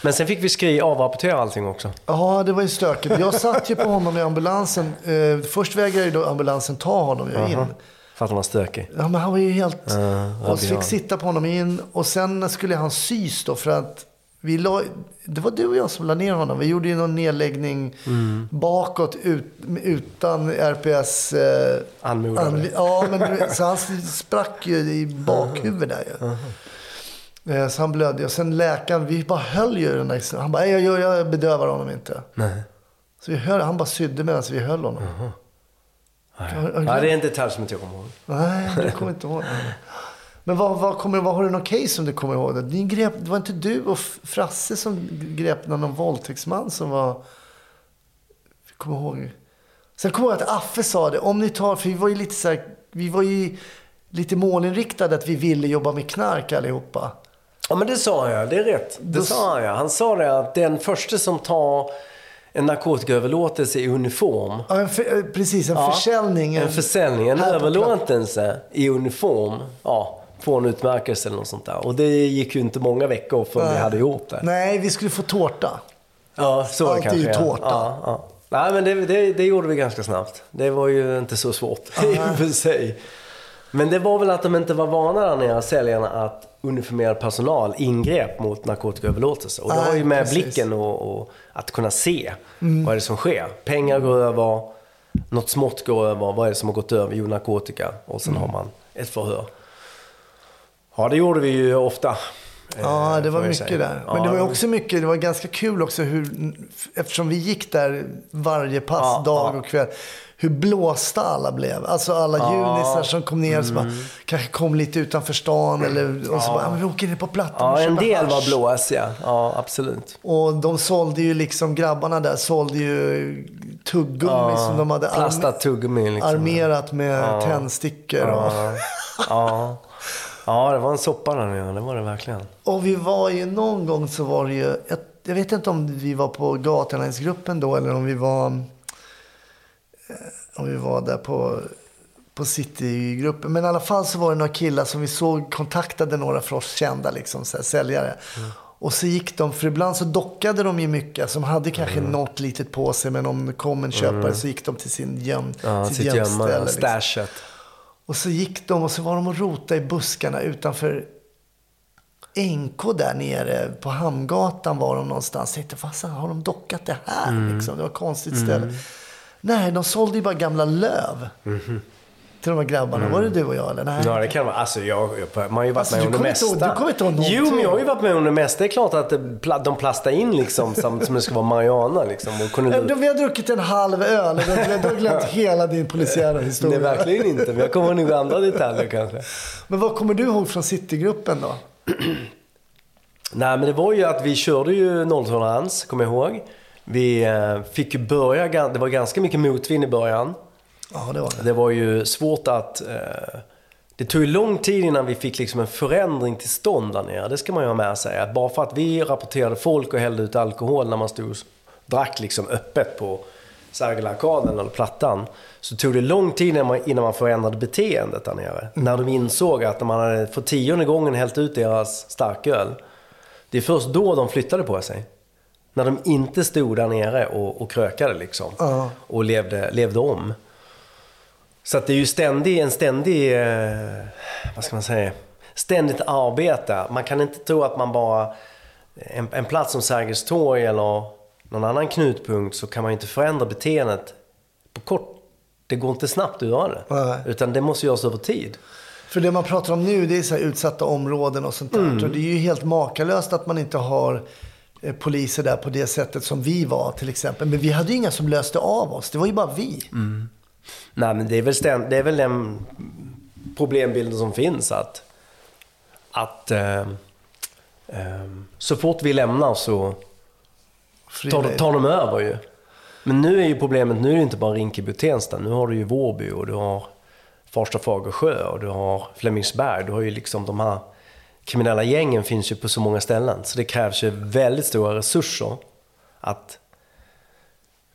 [SPEAKER 4] Men sen fick vi skri avrapportera allting också.
[SPEAKER 2] Ja, det var ju stökigt. Jag satt ju på honom i ambulansen. Eh, först vägrade ju då ambulansen ta honom jag in.
[SPEAKER 4] För att han var stökig.
[SPEAKER 2] Ja, men han var ju helt...
[SPEAKER 4] ja,
[SPEAKER 2] och
[SPEAKER 4] det
[SPEAKER 2] så
[SPEAKER 4] är
[SPEAKER 2] fick
[SPEAKER 4] han.
[SPEAKER 2] sitta på honom in och sen skulle han sys då för att vi la, det var du och jag som la ner honom. Vi gjorde ju någon nedläggning
[SPEAKER 4] Mm.
[SPEAKER 2] bakåt ut, utan RPS... Eh,
[SPEAKER 4] Anmodade.
[SPEAKER 2] anli- ja, men du vet, så han sprack ju i bakhuvudet där ju. Eh, Så han blödde och sen läkaren, vi bara höll ju den där. Han bara, "Nej, jag, jag, jag bedövar honom inte.
[SPEAKER 4] Nej.
[SPEAKER 2] Så vi höll, han bara sydde medan vi höll honom. Har- har-
[SPEAKER 4] Ja, det är en detalj som inte jag kommer ihåg.
[SPEAKER 2] Nej, du kommer inte ihåg. Men vad, vad kommer, vad, har du något case som du kommer ihåg? Det, Ni grep, det var inte du och F- Frasse som grep någon våldtäktsman som var... Jag kommer ihåg. Sen kommer jag ihåg att Affe sa det. Om ni tar, för vi var ju lite så här, Vi var ju lite målinriktade att vi ville jobba med knark allihopa.
[SPEAKER 4] Ja, men det sa jag. Det är rätt. Det
[SPEAKER 2] Då-
[SPEAKER 4] sa jag. Han sa det att den första som tar en narkotikaöverlåtelse i uniform
[SPEAKER 2] Ja, en för, eh, precis, en
[SPEAKER 4] Ja.
[SPEAKER 2] försäljning.
[SPEAKER 4] En försäljning, en
[SPEAKER 2] här på
[SPEAKER 4] överlåtelse i uniform. Ja, få en utmärkelse eller något sånt där. Och det gick ju inte många veckor förrän vi hade gjort det.
[SPEAKER 2] Nej, vi skulle få tårta.
[SPEAKER 4] Ja, så var det
[SPEAKER 2] Allt är
[SPEAKER 4] kanske.
[SPEAKER 2] ju
[SPEAKER 4] ja.
[SPEAKER 2] tårta.
[SPEAKER 4] Ja, ja. Nej, men det, det, det gjorde vi ganska snabbt. Det var ju inte så svårt i och för sig. Men det var väl att de inte var vana där nere, säljarna, att uniformerad personal ingrep mot narkotikaöverlåtelse. Och det
[SPEAKER 2] Nej,
[SPEAKER 4] har ju med
[SPEAKER 2] precis. Mm.
[SPEAKER 4] blicken och, och att kunna se vad är det som sker. Pengar går över, något smått går över. Vad är det som har gått över? Jo, narkotika. Och
[SPEAKER 2] Mm.
[SPEAKER 4] sen har man ett förhör. Ja, det gjorde vi ju ofta.
[SPEAKER 2] Ja,
[SPEAKER 4] eh,
[SPEAKER 2] det var
[SPEAKER 4] får jag
[SPEAKER 2] mycket
[SPEAKER 4] säga.
[SPEAKER 2] där. Men
[SPEAKER 4] Ja,
[SPEAKER 2] det var ju också mycket, det var ganska kul också hur, eftersom vi gick där varje pass,
[SPEAKER 4] Ja,
[SPEAKER 2] dag
[SPEAKER 4] ja.
[SPEAKER 2] och kväll, hur blåsta alla blev. Alltså alla junisar som kom ner, som
[SPEAKER 4] Mm.
[SPEAKER 2] bara, kanske kom lite utanför stan eller, och så bara, "Ja, men vi åker ner på Plattan och
[SPEAKER 4] Ja, en
[SPEAKER 2] köper
[SPEAKER 4] del
[SPEAKER 2] hasch."
[SPEAKER 4] var blåsiga. Ja, absolut.
[SPEAKER 2] Och de sålde ju liksom, grabbarna där sålde ju tuggummi som de hade arme-
[SPEAKER 4] Plastat tuggummi liksom.
[SPEAKER 2] armerat med tändstickor.
[SPEAKER 4] Ja. Ja. ja, det var en soppa där nere. Det var det verkligen.
[SPEAKER 2] Och, och vi var ju, någon gång så var det ju, jag, jag vet inte om vi var på Gatulandsgruppen då eller om vi var eh, om vi var där på, på Citygruppen. Men i alla fall så var det några killar som vi såg kontaktade några för oss kända liksom, så här, säljare.
[SPEAKER 4] Mm.
[SPEAKER 2] Och så gick de, för ibland så dockade de ju mycket. Som hade kanske
[SPEAKER 4] Mm.
[SPEAKER 2] något litet på sig, men om det kom en köpare så gick de till sin göm,
[SPEAKER 4] Ja,
[SPEAKER 2] sitt
[SPEAKER 4] sitt gömma,
[SPEAKER 2] gömställe.
[SPEAKER 4] ja,
[SPEAKER 2] liksom.
[SPEAKER 4] stashet.
[SPEAKER 2] Och så gick de och så var de och rotade i buskarna utanför NK där nere. På Hamngatan var de någonstans. Jag tänkte, vad fan har de dockat det här?
[SPEAKER 4] Mm.
[SPEAKER 2] Liksom, det var ett konstigt ställe. Nej, de sålde ju bara gamla löv. Till de här grabbarna. Var det du och jag eller? Nej.
[SPEAKER 4] Mm-hmm. Mm. Ja, det kan vara. Alltså, jag, jag, man har ju varit
[SPEAKER 2] Alltså,
[SPEAKER 4] med
[SPEAKER 2] du
[SPEAKER 4] om
[SPEAKER 2] kommer inte
[SPEAKER 4] det mesta.
[SPEAKER 2] ihåg- du kommer inte ihåg någonting.
[SPEAKER 4] Jo, men jag har ju varit med om det mesta. Det är klart att det, pla- de plastar in liksom som, som det ska vara marijuana liksom. Och kunde,
[SPEAKER 2] De, vi har druckit en halv öl. och Du du har glömt hela din polisiära
[SPEAKER 4] nej,
[SPEAKER 2] historia.
[SPEAKER 4] verkligen inte. Men jag kommer ihåg några andra detaljer kanske.
[SPEAKER 2] Men vad kommer du ihåg från Citygruppen då?
[SPEAKER 4] Nej, men det var ju att vi körde ju nolltolerans, kommer jag ihåg. Vi eh, fick ju börja, gan- det var ganska mycket motvind i början.
[SPEAKER 2] Ja, det var det.
[SPEAKER 4] Det var ju svårt att... Eh, det tog ju lång tid innan vi fick liksom en förändring till stånd där nere. Det ska man ju ha med sig. Att bara för att vi rapporterade folk och hällde ut alkohol när man stod och drack liksom öppet på Sergelarkaden eller Plattan. Så tog det lång tid innan man, innan man förändrade beteendet där nere. När de insåg att man hade för tionde gången hällt ut deras starköl. Det är först då de flyttade på sig. När de inte stod där nere och, och krökade liksom.
[SPEAKER 2] Ja.
[SPEAKER 4] Och levde, levde om. Så att det är ju ständig, en ständig, eh, vad ska man säga, ständigt arbete. Man kan inte tro att man bara, en, en plats som Sergels torg eller någon annan knutpunkt så kan man ju inte förändra beteendet på kort, det går inte snabbt att göra det.
[SPEAKER 2] Nej.
[SPEAKER 4] Utan det måste göras över tid.
[SPEAKER 2] För det man pratar om nu det är så här utsatta områden och sånt där.
[SPEAKER 4] Mm.
[SPEAKER 2] Och det är ju helt makalöst att man inte har eh, poliser där på det sättet som vi var till exempel. Men vi hade ju inga som löste av oss. Det var ju bara vi.
[SPEAKER 4] Mm. Nej men det är väl, ständ, det är väl den problembilden som finns att, att eh, eh, så fort vi lämnar så
[SPEAKER 2] Fri
[SPEAKER 4] tar,
[SPEAKER 2] lejd.
[SPEAKER 4] tar de över ju. Men nu är ju problemet, nu är det inte bara Rinkeby och Tensta. Nu har du ju Vårby och du har Farsta Fagersjö och du har Flemingsberg. Du har ju liksom de här kriminella gängen finns ju på så många ställen. Så det krävs ju väldigt stora resurser att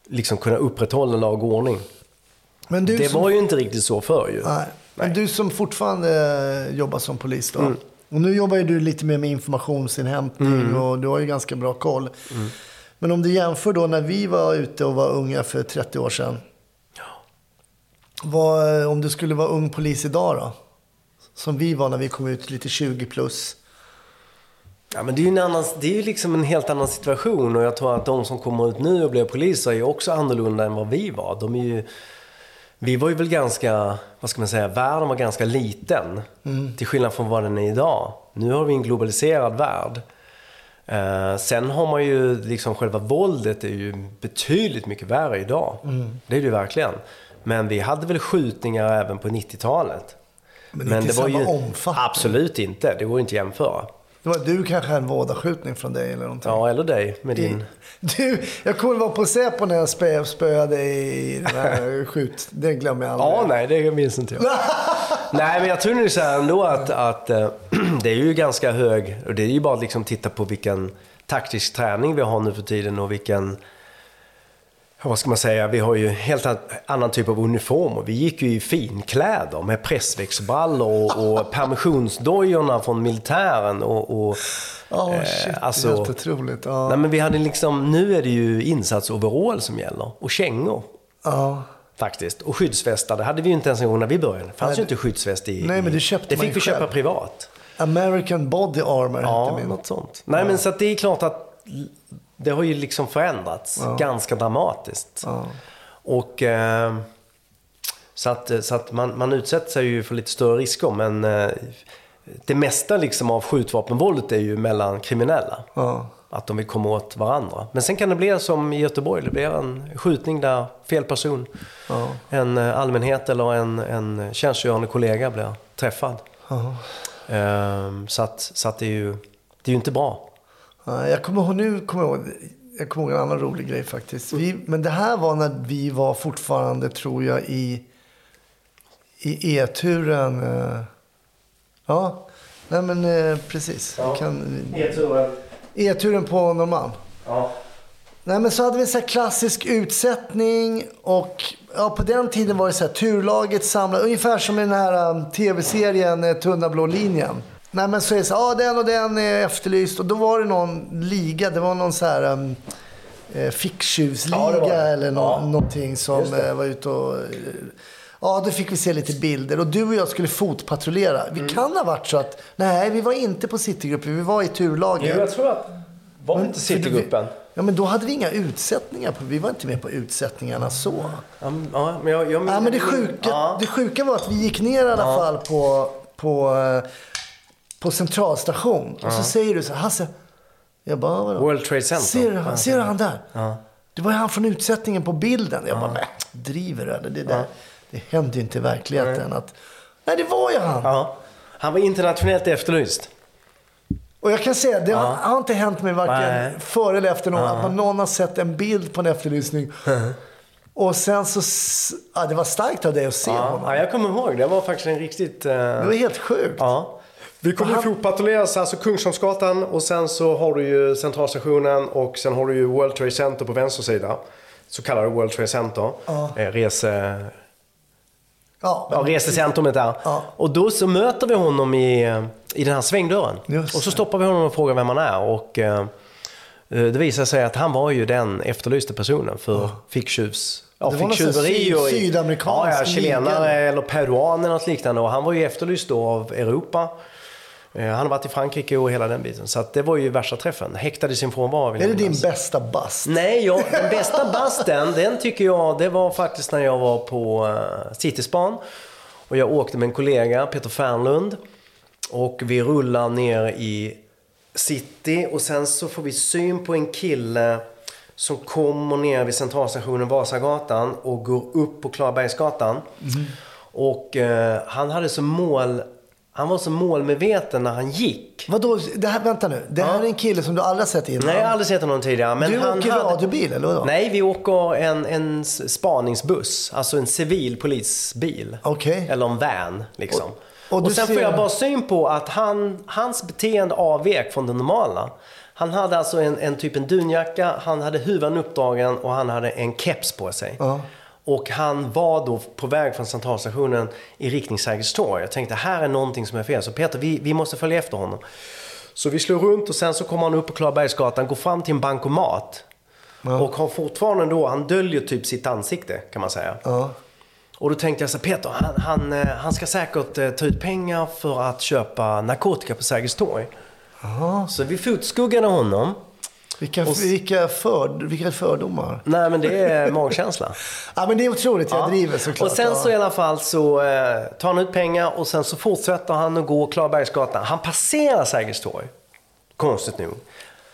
[SPEAKER 4] liksom kunna upprätthålla lag och ordning.
[SPEAKER 2] Men du
[SPEAKER 4] det
[SPEAKER 2] som,
[SPEAKER 4] var ju inte riktigt så förr ju.
[SPEAKER 2] nej. Men du som fortfarande eh, jobbar som polis då.
[SPEAKER 4] Mm.
[SPEAKER 2] Och nu jobbar ju du lite mer med informationsinhämtning
[SPEAKER 4] Mm.
[SPEAKER 2] och du har ju ganska bra koll. Men om du jämför då när vi var ute och var unga för 30 år sedan. Vad, eh, om du skulle vara ung polis idag då? Som vi var när vi kom ut lite 20 plus.
[SPEAKER 4] Ja, men det är ju en annan, det är ju liksom en helt annan situation och jag tror att de som kommer ut nu och blir poliser är ju också annorlunda än vad vi var. De är ju, vi var ju väl ganska, vad ska man säga, världen var ganska liten.
[SPEAKER 2] Mm.
[SPEAKER 4] Till skillnad från vad den är idag. Nu har vi en globaliserad värld. Eh, sen har man ju liksom själva våldet är ju betydligt mycket värre idag.
[SPEAKER 2] Mm.
[SPEAKER 4] Det är det ju verkligen. Men vi hade väl skjutningar även på 90-talet.
[SPEAKER 2] Men inte i samma omfattning.
[SPEAKER 4] Absolut inte, det går ju inte att jämföra.
[SPEAKER 2] Det var du kanske hade en vådaskjutning från dig eller någonting.
[SPEAKER 4] Ja, eller dig med din...
[SPEAKER 2] Du, jag kommer vara på Säpo när jag spö, spöade i den här skjut... Det glömmer jag aldrig.
[SPEAKER 4] Ja, nej, det minns inte jag. nej, men jag tror nu så här ändå att, att eh, det är ju ganska hög... Och det är ju bara att liksom titta på vilken taktisk träning vi har nu för tiden och vilken... ja, Vad ska man säga? Vi har ju helt an- annan typ av uniformer. Vi gick ju i finkläder med pressväxtbrallor och, och permissionsdojorna från militären och... och
[SPEAKER 2] Ja,
[SPEAKER 4] eh,
[SPEAKER 2] shit.
[SPEAKER 4] alltså-
[SPEAKER 2] Helt otroligt. Ja.
[SPEAKER 4] Nej, men vi hade liksom... Nu är det ju insatsoverall som gäller och kängor.
[SPEAKER 2] ja.
[SPEAKER 4] Faktiskt. Och skyddsvästar, det hade vi ju inte ens en gång när vi började. Det fanns
[SPEAKER 2] Nej,
[SPEAKER 4] ju inte skyddsväst i...
[SPEAKER 2] Nej, men det
[SPEAKER 4] i-
[SPEAKER 2] köpte
[SPEAKER 4] Det
[SPEAKER 2] man
[SPEAKER 4] fick
[SPEAKER 2] ju
[SPEAKER 4] vi
[SPEAKER 2] själv.
[SPEAKER 4] köpa privat.
[SPEAKER 2] American Body Armor
[SPEAKER 4] Ja,
[SPEAKER 2] hette min.
[SPEAKER 4] något sånt. Nej, men så att det är klart att det har ju liksom förändrats ganska dramatiskt. Och... Eh, så att, så att man, man utsätter sig ju för lite större risker, men eh, det mesta liksom av skjutvapenvåldet är ju mellan kriminella.
[SPEAKER 2] Ja.
[SPEAKER 4] Att de vill komma åt varandra. Men sen kan det bli som i Göteborg, det blir en skjutning där fel person, en eh, allmänhet eller en, en tjänstgörande kollega blir träffad. Ehm, så att, så att det, är ju, det är ju inte bra.
[SPEAKER 2] Ja, Jag kommer ihåg, nu kommer jag ihåg, jag kommer ihåg en annan rolig grej faktiskt. Vi, men det här var när vi var fortfarande, tror jag, i, i E, E-turen. eh, Ja, nej men eh, precis. Vi Kan, E-turen på Norrmalm.
[SPEAKER 4] Ja.
[SPEAKER 2] Nej, men så hade vi så här klassisk utsättning och ja, på den tiden var det så här turlaget samlade, ungefär som i den här um, tv-serien eh, Tunna blå linjen. Nej, men så är det så här, ja, den och den är efterlyst och då var det någon liga, det var någon så här um, eh,
[SPEAKER 4] Ja, det
[SPEAKER 2] ficktjuvsliga
[SPEAKER 4] var det.
[SPEAKER 2] eller nå-
[SPEAKER 4] Ja.
[SPEAKER 2] någonting som eh, var ute och... eh, Ja, då fick vi se lite bilder och du och jag skulle fotpatrullera. Vi
[SPEAKER 4] Mm.
[SPEAKER 2] kan ha varit så att, nej, vi var inte på Citygruppen, vi var i turlaget.
[SPEAKER 4] tror att... Var inte Citygruppen?
[SPEAKER 2] Ja, men då hade vi inga utsättningar. På, vi var inte med på utsättningarna så.
[SPEAKER 4] Ja, men- ja, men jag, jag
[SPEAKER 2] Ja, men det, sjuka,
[SPEAKER 4] Ja.
[SPEAKER 2] det sjuka var att vi gick ner i alla fall på, på, eh, på centralstation. Och så säger du så här, Hasse. Jag bara, "Ah, vadå?
[SPEAKER 4] World Trade Center.
[SPEAKER 2] Ser du,
[SPEAKER 4] Ja.
[SPEAKER 2] han, ser du han där? Det var ju han från utsättningen på bilden. Jag bara, nej, driver du eller? Det, där, det händer ju inte i verkligheten. Att, nej, det var ju han.
[SPEAKER 4] Ja. Han var internationellt efterlyst.
[SPEAKER 2] Och jag kan säga, det har, har inte hänt mig varken
[SPEAKER 4] Nej.
[SPEAKER 2] före eller efter någon, att man, någon har sett en bild på en efterlysning. Och sen så, s- ja, det var starkt av dig att se
[SPEAKER 4] Ja.
[SPEAKER 2] honom.
[SPEAKER 4] ja, jag kommer ihåg. Det var faktiskt en riktigt... eh,
[SPEAKER 2] Det var helt sjukt.
[SPEAKER 4] Ja. Vi kommer ju fotpatrulleras, alltså Kungsholmsgatan och sen så har du ju centralstationen och sen har du ju World Trade Center på vänster sida. Så kallade World Trade Center.
[SPEAKER 2] Ja.
[SPEAKER 4] Eh, rese...
[SPEAKER 2] Ja.
[SPEAKER 4] Ja, resecentrumet där.
[SPEAKER 2] Ja.
[SPEAKER 4] Och då så möter vi honom i, i den här svängdörren.
[SPEAKER 2] Just
[SPEAKER 4] och så
[SPEAKER 2] det.
[SPEAKER 4] stoppar vi honom och frågar vem han är. Och, eh, eh, det visar sig att han var ju den efterlyste personen för ficktjuvs... Ja,
[SPEAKER 2] Det var någon sån här
[SPEAKER 4] ficktjuveri
[SPEAKER 2] syd-
[SPEAKER 4] och... i-
[SPEAKER 2] sydamerikansk
[SPEAKER 4] Ja, ja,
[SPEAKER 2] liga.
[SPEAKER 4] chilenare eller peruan eller något liknande. Och han var ju efterlyst då av Europa. Eh, Han har varit i Frankrike och hela den biten. Så att det var ju värsta träffen. Häktad i sin frånvaro. vill
[SPEAKER 2] Är
[SPEAKER 4] jag
[SPEAKER 2] det din
[SPEAKER 4] minnas.
[SPEAKER 2] bästa bast?
[SPEAKER 4] Nej, jag, den bästa basten, den tycker jag, det var faktiskt när jag var på eh, Cityspan. Och jag åkte med en kollega, Peter Fernlund. Och vi rullar ner i city och sen så får vi syn på en kille som kommer ner vid centralstationen Vasagatan och går upp på Klarabergsgatan. Och eh, han hade som mål Han var så målmedveten när han gick.
[SPEAKER 2] Vadå, det här, vänta nu. Det här är en kille som du aldrig har sett innan.
[SPEAKER 4] Nej, jag har aldrig sett honom tidigare. Men
[SPEAKER 2] du
[SPEAKER 4] han
[SPEAKER 2] åker
[SPEAKER 4] hade...
[SPEAKER 2] radiobil, eller vadå?
[SPEAKER 4] Nej, vi åker en, en s- spaningsbuss. Alltså en civil polisbil.
[SPEAKER 2] Okej.
[SPEAKER 4] Eller en van, liksom.
[SPEAKER 2] och
[SPEAKER 4] Och,
[SPEAKER 2] du
[SPEAKER 4] sen
[SPEAKER 2] ser-
[SPEAKER 4] får jag bara syn på att han, hans beteende avvek från det normala. Han hade alltså en, en typ en dunjacka, han hade huvan uppdragen och han hade en keps på sig.
[SPEAKER 2] Ja.
[SPEAKER 4] Och han var då på väg från centralstationen i riktning Sergels torg. Jag tänkte, här är någonting som är fel. Så Peter, vi, vi måste följa efter honom. Så vi slår runt och sen så kommer han upp på Klarabergsgatan, går fram till en bankomat. Och har fortfarande då, han döljer typ sitt ansikte kan man säga.
[SPEAKER 2] Ja.
[SPEAKER 4] Och då tänkte jag så här, Peter han, han, eh, han ska säkert eh, ta ut pengar för att köpa narkotika på Sergels torg. Så vi fotskuggade honom.
[SPEAKER 2] Vilka, vilka, för, vilka fördomar.
[SPEAKER 4] Nej men det är magkänsla.
[SPEAKER 2] Ja, men det är otroligt. Jag
[SPEAKER 4] Ja.
[SPEAKER 2] driver såklart.
[SPEAKER 4] Och sen
[SPEAKER 2] ja.
[SPEAKER 4] så i alla fall så eh, tar han ut pengar och sen så fortsätter han att gå Klarabergsgatan. Han passerar Sergels torg. Konstigt nog.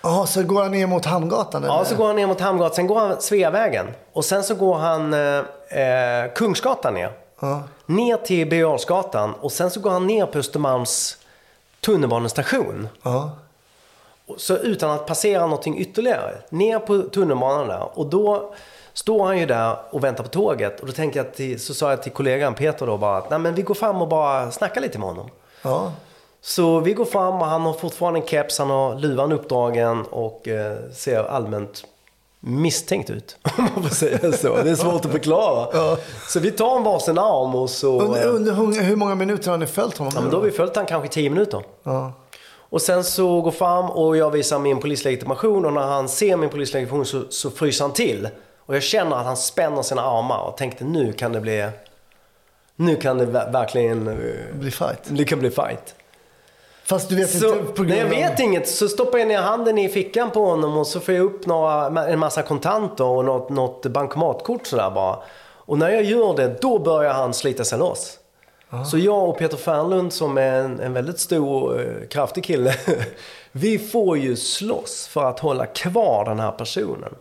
[SPEAKER 2] Jaha, så går han ner mot Hamngatan?
[SPEAKER 4] Ja,
[SPEAKER 2] eller?
[SPEAKER 4] så går han ner mot Hamngatan, sen går han Sveavägen. Och sen så går han eh, eh, Kungsgatan ner.
[SPEAKER 2] Ja.
[SPEAKER 4] Ner till Birger Jarlsgatan och sen så går han ner på Östermalms tunnelbanestation.
[SPEAKER 2] Ja.
[SPEAKER 4] Så utan att passera någonting ytterligare. Ner på tunnelbanan där. Och då står han ju där och väntar på tåget. Och då tänker jag till, så sa jag till kollegan Peter då bara att Nej, men vi går fram och bara snackar lite med honom.
[SPEAKER 2] ja.
[SPEAKER 4] Så vi går fram och han har fortfarande en keps, han har luvan uppdragen och eh, ser allmänt misstänkt ut. Om man får säga så. Det är svårt att förklara. Så vi tar en varsin arm och så...
[SPEAKER 2] Under,
[SPEAKER 4] Eh,
[SPEAKER 2] under hur- hur många minuter har ni följt honom?
[SPEAKER 4] ja, men då har vi följt han kanske 10 minuter.
[SPEAKER 2] ja.
[SPEAKER 4] Och sen så går fram och jag visar min polislegitimation och när han ser min polislegitimation så, så fryser han till. Och jag känner att han spänner sina armar och tänkte nu kan det bli... Nu kan det ver- verkligen... eh,
[SPEAKER 2] blir fight.
[SPEAKER 4] Det kan bli fight.
[SPEAKER 2] Fast du vet
[SPEAKER 4] Så,
[SPEAKER 2] inte på grund
[SPEAKER 4] när jag
[SPEAKER 2] av-
[SPEAKER 4] vet inget så stoppar jag ner handen i fickan på honom och så får jag upp några, en massa kontanter och något, något bankomatkort sådär bara. Och när jag gör det, då börjar han slita sig loss.
[SPEAKER 2] Ah.
[SPEAKER 4] Så jag och Peter Fernlund som är en, en väldigt stor, eh, kraftig kille. vi får ju slåss för att hålla kvar den här personen.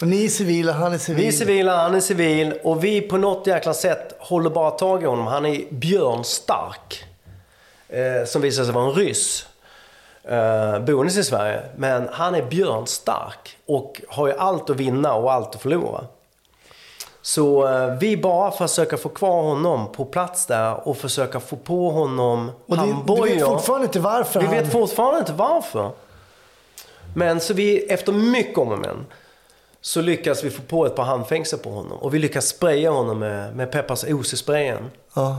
[SPEAKER 2] Och Ni är civila, han är civil.
[SPEAKER 4] Alltså, Vi är civila, han är civil och vi på något jäkla sätt håller bara tag i honom. Han är Björn Stark. Eh, som visar sig vara en ryss. Eh, boendes i Sverige. Men han är Björn Stark och har ju allt att vinna och allt att förlora. Så eh, vi bara försöker få kvar honom på plats där och försöka få på honom
[SPEAKER 2] Och det, du vet
[SPEAKER 4] handbojor.
[SPEAKER 2] fortfarande inte varför
[SPEAKER 4] Vi
[SPEAKER 2] han...
[SPEAKER 4] vet fortfarande inte varför. Men så vi, efter mycket om och men, så lyckas vi få på ett par handfängsel på honom. Och vi lyckas spraya honom med, med Peppars OC-sprayen.
[SPEAKER 2] ja.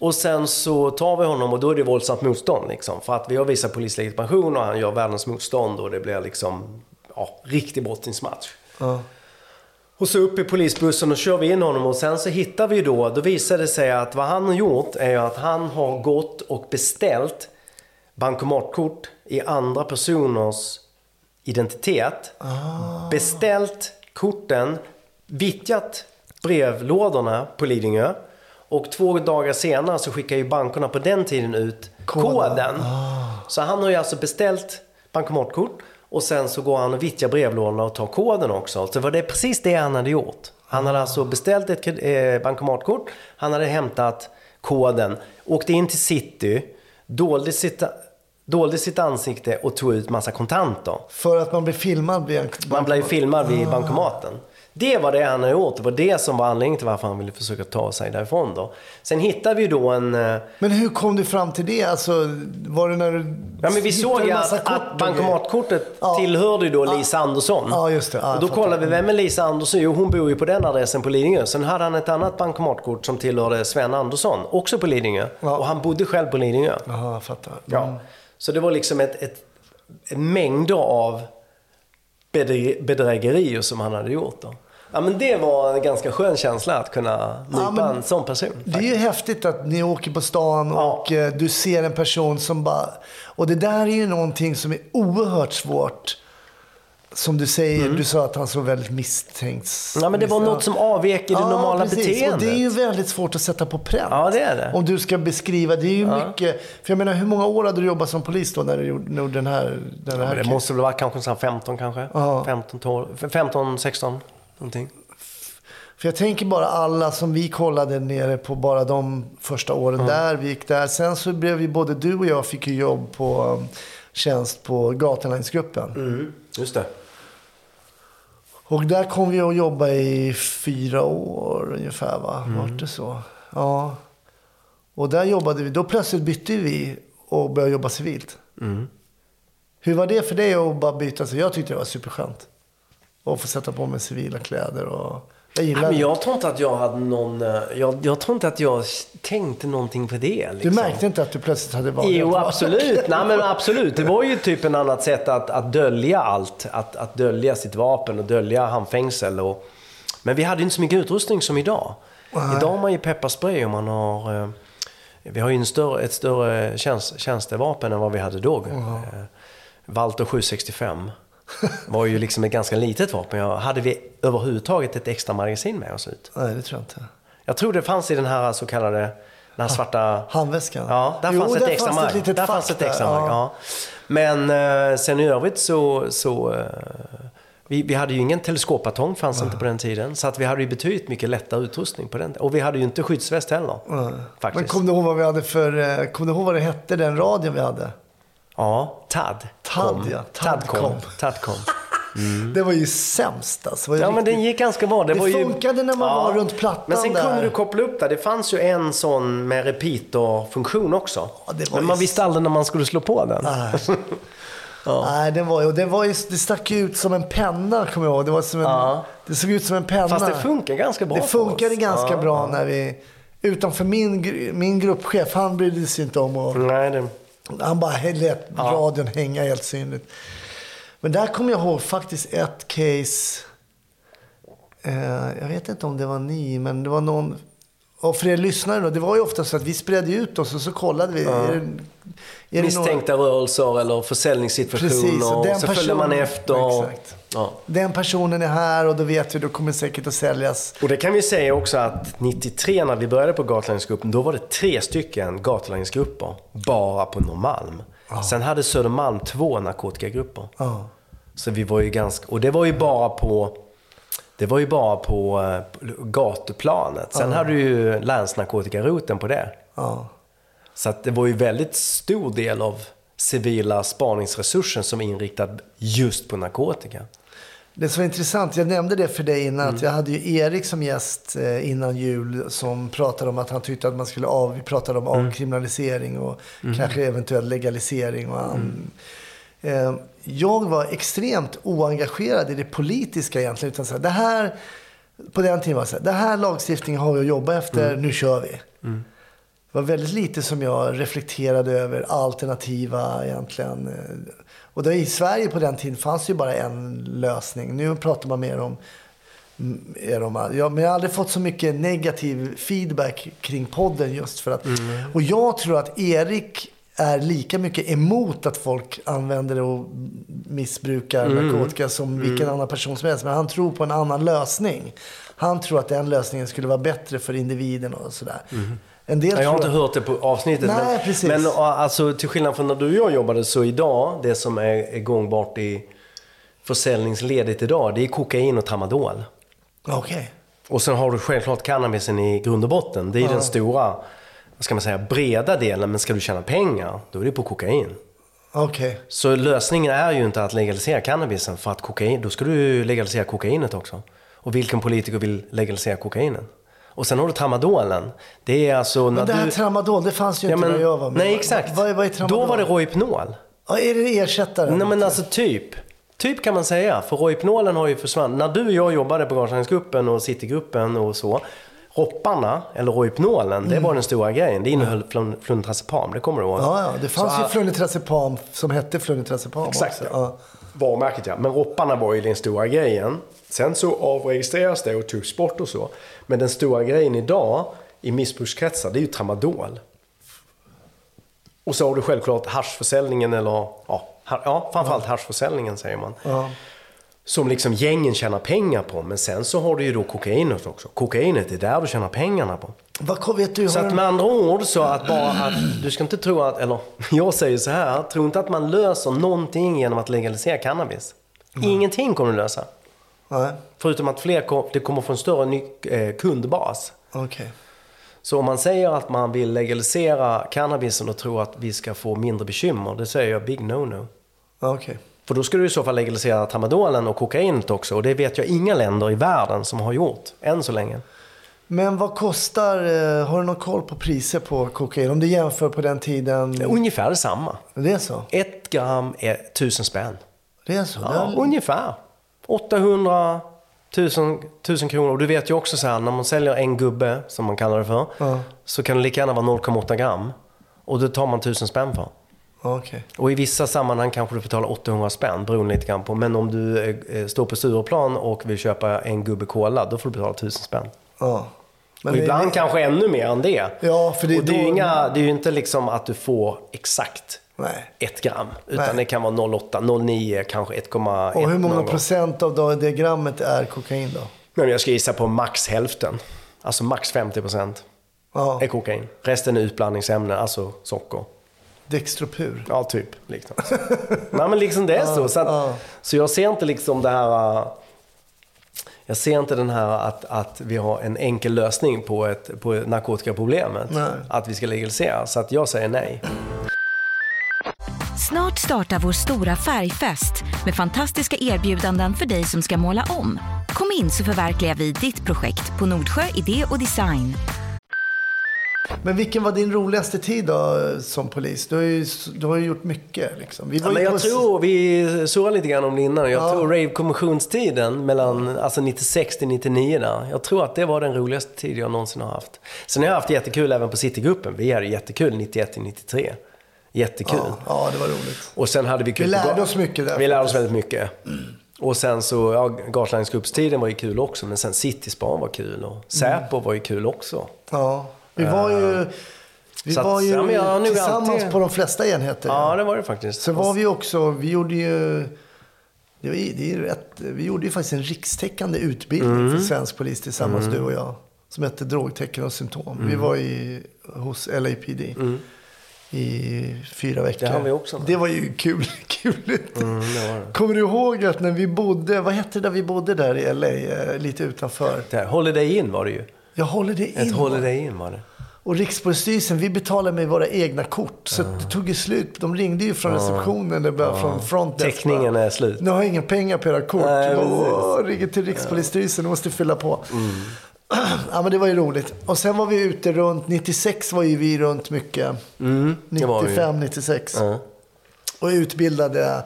[SPEAKER 4] Och sen så tar vi honom och då är det våldsamt motstånd liksom. För att vi har visat polislegitimation och han gör världens motstånd och det blir liksom, ja, riktig brottningsmatch.
[SPEAKER 2] Ja.
[SPEAKER 4] Och så upp i polisbussen och kör vi in honom och sen så hittar vi ju då, då visar det sig att vad han har gjort är ju att han har gått och beställt bankomatkort i andra personers identitet. Beställt korten, vittjat brevlådorna på Lidingö. Och två dagar senare så skickar ju bankerna på den tiden ut
[SPEAKER 2] Koden.
[SPEAKER 4] koden. Så han har ju alltså beställt bankomatkort och sen så går han och vittjar brevlådorna och tar koden också. Så var det precis det han hade gjort. Han hade alltså beställt ett kred- eh, bankomatkort, han hade hämtat koden, åkte in till city, dolde sitt, dolde sitt ansikte och tog ut massa kontanter.
[SPEAKER 2] För att man blir filmad blir en...
[SPEAKER 4] Man blev ju filmad
[SPEAKER 2] Ah.
[SPEAKER 4] vid bankomaten. Det var det han hade gjort, det var det som var anledningen till varför han ville försöka ta sig därifrån då. Sen hittade vi då en... eh,
[SPEAKER 2] Men hur kom du fram till det? Alltså, var det när du...
[SPEAKER 4] Ja, men vi
[SPEAKER 2] hittade
[SPEAKER 4] såg
[SPEAKER 2] en
[SPEAKER 4] ju
[SPEAKER 2] massa
[SPEAKER 4] att,
[SPEAKER 2] kort
[SPEAKER 4] att
[SPEAKER 2] och
[SPEAKER 4] bankomatkortet
[SPEAKER 2] Ja.
[SPEAKER 4] tillhörde ju då Lisa Andersson.
[SPEAKER 2] Ja, just det. Ja,
[SPEAKER 4] och
[SPEAKER 2] jag
[SPEAKER 4] då
[SPEAKER 2] fattar. Mm.
[SPEAKER 4] kollade vi, vem är Lisa Andersson? Jo, hon bor ju på den adressen på Lidingö. Sen hade han ett annat bankomatkort som tillhörde Sven Andersson, också på Lidingö.
[SPEAKER 2] Ja.
[SPEAKER 4] Och han bodde själv på Lidingö.
[SPEAKER 2] grejer? Jaha, jag fattar.
[SPEAKER 4] Ja. Så det var liksom ett, ett, en mängd av bedre- bedrägerier som han hade gjort. Då. Ja, men det var en ganska skön känsla att kunna nypa
[SPEAKER 2] men
[SPEAKER 4] en sån person.
[SPEAKER 2] Det är ju häftigt att ni åker på stan
[SPEAKER 4] Ja.
[SPEAKER 2] och eh, du ser en person som bara... Och det där är ju någonting som är oerhört svårt. Som du säger, du sa att han såg väldigt misstänkt
[SPEAKER 4] Mm. Ja, men det var
[SPEAKER 2] misstänkt.
[SPEAKER 4] något som avvek i det
[SPEAKER 2] Ja,
[SPEAKER 4] normala
[SPEAKER 2] precis.
[SPEAKER 4] beteendet.
[SPEAKER 2] Och det är ju väldigt svårt att sätta på pränt.
[SPEAKER 4] Ja, det är det.
[SPEAKER 2] Om du ska beskriva. Det är ju mycket. För jag menar, hur många år hade du jobbat som polis då när du gjorde gjorde den här... Den
[SPEAKER 4] Ja,
[SPEAKER 2] här
[SPEAKER 4] men det måste väl vara kanske så här 15 kanske?
[SPEAKER 2] Ja.
[SPEAKER 4] 15, 12, 15, 16 någonting.
[SPEAKER 2] För jag tänker bara alla som vi kollade nere på bara de första
[SPEAKER 4] Mm.
[SPEAKER 2] åren där, vi gick där. Sen så blev ju både du och jag fick ju jobb på um, tjänst på Gatulinesgruppen.
[SPEAKER 4] Mm. Just det.
[SPEAKER 2] Och där kom vi att jobba i fyra år ungefär va?
[SPEAKER 4] Mm.
[SPEAKER 2] Vart det så? Ja. Och där jobbade vi. Då plötsligt bytte vi och började jobba civilt.
[SPEAKER 4] Mm.
[SPEAKER 2] Hur var det för dig att bara byta? Så jag tyckte det var superskönt. Att få sätta på mig civila kläder och... Jag gillade
[SPEAKER 4] Men
[SPEAKER 2] det.
[SPEAKER 4] jag tror inte att jag hade någon... eh, Jag, jag tror inte att jag tänkte någonting på det.
[SPEAKER 2] Du
[SPEAKER 4] Liksom.
[SPEAKER 2] märkte inte att du plötsligt hade varit
[SPEAKER 4] Jo, absolut. Nej, men absolut. Det var ju typ en annat sätt att, att dölja allt. Att, att dölja sitt vapen och dölja handfängsel. Och... Men vi hade ju inte så mycket utrustning som idag. Idag har man ju pepparspray och man har... eh, Vi har ju en större, ett större tjänst, tjänstevapen än vad vi hade då. Eh, Wow. Walter 765 var ju liksom ett ganska litet vapen. Jag, hade vi överhuvudtaget ett extra magasin med oss ut?
[SPEAKER 2] Nej, det tror jag inte.
[SPEAKER 4] Jag tror det fanns i den här så kallade, den här svarta...
[SPEAKER 2] Ah, Handväskan?
[SPEAKER 4] Ja, där
[SPEAKER 2] Jo,
[SPEAKER 4] fanns ett
[SPEAKER 2] där
[SPEAKER 4] extra
[SPEAKER 2] fanns
[SPEAKER 4] mark.
[SPEAKER 2] ett litet
[SPEAKER 4] där
[SPEAKER 2] fack
[SPEAKER 4] fanns ett
[SPEAKER 2] där,
[SPEAKER 4] extra
[SPEAKER 2] ja.
[SPEAKER 4] mark, ja. Men eh, sen i övrigt så... så eh, vi, vi hade ju ingen teleskopbatong, fanns inte på den tiden. Så att vi hade ju betydligt mycket lättare utrustning på den. Och vi hade ju inte skyddsväst heller. Faktiskt.
[SPEAKER 2] Men kom du ihåg vad vi hade för... eh, Kom du ihåg vad det hette, den radion vi hade?
[SPEAKER 4] Ja, TAD.
[SPEAKER 2] Tad,
[SPEAKER 4] kom.
[SPEAKER 2] ja.
[SPEAKER 4] TAD
[SPEAKER 2] Tad
[SPEAKER 4] kom.
[SPEAKER 2] kom.
[SPEAKER 4] TAD kom.
[SPEAKER 2] Det var ju sämst alltså. Det var
[SPEAKER 4] Mm. Ja,
[SPEAKER 2] ju
[SPEAKER 4] men den
[SPEAKER 2] riktigt-
[SPEAKER 4] gick ganska bra. Det,
[SPEAKER 2] Det
[SPEAKER 4] var ju...
[SPEAKER 2] funkade när man var runt plattan
[SPEAKER 4] Men sen kunde
[SPEAKER 2] där.
[SPEAKER 4] du koppla upp där. Det fanns ju en sån med repeater-funktion också.
[SPEAKER 2] Ja, det var
[SPEAKER 4] men
[SPEAKER 2] ju
[SPEAKER 4] man
[SPEAKER 2] s-
[SPEAKER 4] visste aldrig när man skulle slå på den.
[SPEAKER 2] Nej. Nej, den var ju... och Den var ju det stack ju ut som en penna, kommer jag ihåg. Det, var som en,
[SPEAKER 4] Ja.
[SPEAKER 2] det såg ut som en penna.
[SPEAKER 4] Fast det funkar ganska bra
[SPEAKER 2] Det
[SPEAKER 4] för oss.
[SPEAKER 2] funkade ganska
[SPEAKER 4] Ja,
[SPEAKER 2] bra när vi... Utanför min, gr- min gruppchef, han brydde sig inte om att...
[SPEAKER 4] Nej, det...
[SPEAKER 2] Han bara lät radion hänga helt synligt. Men där kommer jag ihåg faktiskt ett case. Eh, jag vet inte om det var ni, men det var någon. Och för er lyssnare då, det var ju ofta så att vi spred ut oss och så kollade vi. Är det, är det
[SPEAKER 4] misstänkta rörelser eller försäljningssituationer.
[SPEAKER 2] Precis, och
[SPEAKER 4] och
[SPEAKER 2] den
[SPEAKER 4] så följer man
[SPEAKER 2] personen-
[SPEAKER 4] efter. och-
[SPEAKER 2] Exakt.
[SPEAKER 4] Ja.
[SPEAKER 2] Några, den personen är här och då vet vi, då kommer säkert att säljas.
[SPEAKER 4] Och det kan vi säga också att 93 när vi började på Gatulangningsgruppen, då var det tre stycken Gatulangningsgrupper bara på Norrmalm. Sen hade Södermalm två narkotikagrupper.
[SPEAKER 2] Ja.
[SPEAKER 4] Så vi var ju ganska, och det var ju bara på det var ju bara på eh, gatuplanet.
[SPEAKER 2] Ah.
[SPEAKER 4] Sen hade du ju länsnarkotikaroten på det.
[SPEAKER 2] Ja.
[SPEAKER 4] Så att det var ju väldigt stor del av civila spaningsresursen som är inriktad just på narkotika.
[SPEAKER 2] Det som var intressant, jag nämnde det för dig innan, att jag hade ju Erik som gäst eh, innan jul som pratade om att han tyckte att man skulle av, vi pratade om avkriminalisering och kanske eventuell legalisering. Och han, eh, jag var extremt oengagerad i det politiska egentligen. Utan så här, det här, på den tiden var det så här, det här lagstiftningen har jag att jobba efter, nu kör vi. Det var väldigt lite som jag reflekterade över alternativa egentligen. eh, Och då i Sverige på den tiden fanns ju bara en lösning. Nu pratar man mer om... mm, Är de, ja, men jag har aldrig fått så mycket negativ feedback kring podden just för att...
[SPEAKER 4] Mm.
[SPEAKER 2] Och jag tror att Erik är lika mycket emot att folk använder och missbrukar
[SPEAKER 4] Mm.
[SPEAKER 2] narkotika som vilken annan person som helst. Men han tror på en annan lösning. Han tror att den lösningen skulle vara bättre för individen och sådär. En del
[SPEAKER 4] Mm. Jag, har
[SPEAKER 2] tror
[SPEAKER 4] inte hört det på avsnittet.
[SPEAKER 2] Nej,
[SPEAKER 4] men,
[SPEAKER 2] precis.
[SPEAKER 4] men och, alltså, till skillnad från när du och jag jobbade så idag, det som är, är gångbart i försäljningsledet idag, det är kokain och tramadol.
[SPEAKER 2] Okej.
[SPEAKER 4] Och sen har du självklart cannabisen i grund och botten. Det är den stora, vad ska man säga, breda delen. Men ska du tjäna pengar, då är det på kokain.
[SPEAKER 2] Okej.
[SPEAKER 4] Så lösningen är ju inte att legalisera cannabisen för att kokain, då ska du legalisera kokainet också. Och vilken politiker vill legalisera kokainet? Och sen har du tramadolen. Det är alltså när
[SPEAKER 2] Men det här
[SPEAKER 4] du...
[SPEAKER 2] tramadol, det fanns ju inte när jag var med.
[SPEAKER 4] nej, exakt.
[SPEAKER 2] Vad, vad är tramadol?
[SPEAKER 4] Då var det Rohypnol.
[SPEAKER 2] ja, är det ersättaren?
[SPEAKER 4] Nej, men alltså typ. Typ kan man säga, för Rohypnolen har ju försvunnit. När du och jag jobbade på Gatulangningsgruppen och Citygruppen och så. Ropparna, eller Rohypnolen, det var den stora grejen. Det innehöll flun- flunitrazepam, det kommer du ihåg?
[SPEAKER 2] Mm. Ja, ja. Det fanns
[SPEAKER 4] Så,
[SPEAKER 2] ju
[SPEAKER 4] ah,
[SPEAKER 2] flunitrazepam som hette flunitrazepam
[SPEAKER 4] Exakt,
[SPEAKER 2] också.
[SPEAKER 4] ja. Varumärket ja. Men ropparna var ju den stora grejen. Sen så avregistreras det och togs bort och så. Men den stora grejen idag i missbrukskretsar, det är ju tramadol. Och så har du självklart haschförsäljningen eller, ja, ha- ja framförallt haschförsäljningen säger man.
[SPEAKER 2] Ja.
[SPEAKER 4] Som liksom gängen tjänar pengar på. Men sen så har du ju då kokainet också. Kokainet, det är där du tjäänar pengarna på.
[SPEAKER 2] Vad kom- vet du? Har
[SPEAKER 4] Så att
[SPEAKER 2] de-
[SPEAKER 4] med andra ord, så att bara att du ska inte tro att, eller jag säger så här, tro inte att man löser någonting genom att legalisera cannabis. Ingenting kommer du lösa.
[SPEAKER 2] Nej,
[SPEAKER 4] Förutom att fler kom, det kommer få en större ny, eh, kundbas.
[SPEAKER 2] okej.
[SPEAKER 4] Så om man säger att man vill legalisera cannabisen och tror att vi ska få mindre bekymmer, det säger jag big no-no.
[SPEAKER 2] Ja, Okej.
[SPEAKER 4] För då skulle du i så fall legalisera tramadolen och kokainet också och det vet jag inga länder i världen som har gjort än så länge.
[SPEAKER 2] Men vad kostar, eh, har du någon koll på priser på kokain? Om du jämför på den tiden.
[SPEAKER 4] Ungefär samma.
[SPEAKER 2] Det är så?
[SPEAKER 4] Ett gram är tusen spänn.
[SPEAKER 2] Det är så?
[SPEAKER 4] Ja,
[SPEAKER 2] Det är-
[SPEAKER 4] ungefär. 800 000, 1000 kronor. Och du vet ju också så här, när man säljer en gubbe, som man kallar det för,
[SPEAKER 2] Ja.
[SPEAKER 4] så kan det lika gärna vara 0,8 gram. Och det tar man 1000 spänn för.
[SPEAKER 2] Okej.
[SPEAKER 4] Och i vissa sammanhang kanske du betalar 800 spänn, beroende lite grann på. Men om du eh, står på Stureplan och vill köpa en gubbe cola, då får du betala 1000 spänn.
[SPEAKER 2] Ja. Men
[SPEAKER 4] och
[SPEAKER 2] det-
[SPEAKER 4] ibland kanske ännu mer än det.
[SPEAKER 2] Ja, för det är
[SPEAKER 4] och det, är ju
[SPEAKER 2] då-
[SPEAKER 4] inga, det är ju inte liksom att du får exakt
[SPEAKER 2] Nej.
[SPEAKER 4] ett gram. Utan
[SPEAKER 2] Nej.
[SPEAKER 4] det kan vara 0,8, 0,9, kanske 1,1.
[SPEAKER 2] Och hur många
[SPEAKER 4] någon gång.
[SPEAKER 2] procent av då- det grammet är kokain då?
[SPEAKER 4] Nej, men jag ska gissa på max hälften. Alltså max 50 procent
[SPEAKER 2] Ja.
[SPEAKER 4] är kokain. Resten är utblandningsämnen, alltså socker.
[SPEAKER 2] Dextropur.
[SPEAKER 4] Ja, typ. Liknande. Nej, men liksom det är så. Så, att,
[SPEAKER 2] ja.
[SPEAKER 4] så jag ser inte liksom det här... äh, Jag ser inte den här att, att vi har en enkel lösning på, ett, på narkotikaproblemet.
[SPEAKER 2] Nej.
[SPEAKER 4] Att vi ska legalisera. Så att jag säger nej.
[SPEAKER 1] Snart startar vår stora färgfest med fantastiska erbjudanden för dig som ska måla om. Kom in så förverkligar vi ditt projekt på Nordsjö Idé och Design.
[SPEAKER 2] Men vilken var din roligaste tid då eh, som polis? Du har ju, du har ju gjort mycket liksom. Vi
[SPEAKER 4] Ja, men
[SPEAKER 2] ju
[SPEAKER 4] jag
[SPEAKER 2] på-
[SPEAKER 4] tror, vi surrade lite grann om det innan. Jag
[SPEAKER 2] Ja.
[SPEAKER 4] tror rave-kommissionstiden mellan alltså 96 till 99 där. Jag tror att det var den roligaste tid jag någonsin har haft. Sen har jag haft jättekul även på Citygruppen. Vi hade jättekul 91 till 93. Jättekul.
[SPEAKER 2] Ja, det var roligt.
[SPEAKER 4] Och sen hade vi kul
[SPEAKER 2] Vi
[SPEAKER 4] på
[SPEAKER 2] lärde
[SPEAKER 4] ga-
[SPEAKER 2] oss mycket där
[SPEAKER 4] Vi lärde oss
[SPEAKER 2] faktiskt. Mm.
[SPEAKER 4] väldigt mycket. Och sen så, ja, Gatlinesgruppstiden var ju kul också. Men sen Cityspan var kul
[SPEAKER 2] Mm.
[SPEAKER 4] och Säpo var ju kul också.
[SPEAKER 2] Ja. Vi var ju, vi
[SPEAKER 4] Ehm, så att-
[SPEAKER 2] var ju
[SPEAKER 4] ja, men jag har nog
[SPEAKER 2] tillsammans
[SPEAKER 4] alltid-
[SPEAKER 2] på de flesta enheter.
[SPEAKER 4] Ja, det var det faktiskt.
[SPEAKER 2] Så var vi också, vi gjorde ju, det, var, ju- det är ju rätt, vi gjorde ju faktiskt en rikstäckande utbildning
[SPEAKER 4] Mm.
[SPEAKER 2] för svensk polis tillsammans, du och jag. Som hette Drogtecken och symptom. Vi
[SPEAKER 4] Mm.
[SPEAKER 2] var i, hos LAPD i fyra veckor.
[SPEAKER 4] Det hann vi också Mm, med.
[SPEAKER 2] Det var ju kul. kul. Kommer du ihåg att när vi bodde, vad hette det där vi bodde där i LA, eh, lite utanför?
[SPEAKER 4] Det här, Holiday Inn var det ju.
[SPEAKER 2] Jag håller det in.
[SPEAKER 4] Ett Holiday Inn var det.
[SPEAKER 2] Och Rikspolisstyrelsen, vi betalade med våra egna kort. Så det tog ju slut. De ringde ju från receptionen, eller bara från frontdesk.
[SPEAKER 4] Täckningen är slut.
[SPEAKER 2] Nu har jag inga pengar på era kort.
[SPEAKER 4] Nej,
[SPEAKER 2] Jag bara,
[SPEAKER 4] precis. Mm.
[SPEAKER 2] "Åh, ringer till Rikspolisstyrelsen, nu måste fylla på. ja, men det var ju roligt. Och sen var vi ute runt, 96 var ju vi runt mycket.
[SPEAKER 4] Mm, det var vi.
[SPEAKER 2] 95, 96. Och utbildade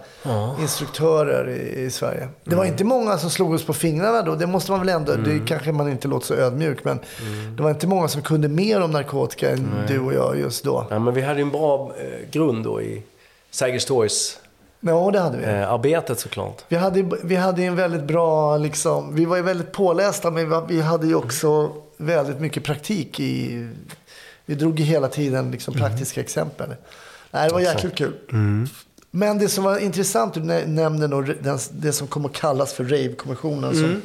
[SPEAKER 2] instruktörer i, i Sverige. Det
[SPEAKER 4] Mm.
[SPEAKER 2] var inte många som slog oss på fingrarna då. Det måste man väl ändå, det kanske man inte låter så ödmjuk, men
[SPEAKER 4] Mm.
[SPEAKER 2] det var inte många som kunde mer om narkotika än du och jag just då.
[SPEAKER 4] Ja, men vi hade ju en bra eh, grund då i Sergels torgs
[SPEAKER 2] Ja, det hade vi.
[SPEAKER 4] eh, arbetet såklart.
[SPEAKER 2] Vi hade, vi hade en väldigt bra, liksom, vi var ju väldigt pålästa men vi- vi hade ju också väldigt mycket praktik i, vi drog ju hela tiden liksom praktiska exempel. Nej, det var jäkligt kul. Men det som var intressant, du nä- nämnde nog den, det som kom att kallas för rave-kommissionen. Som,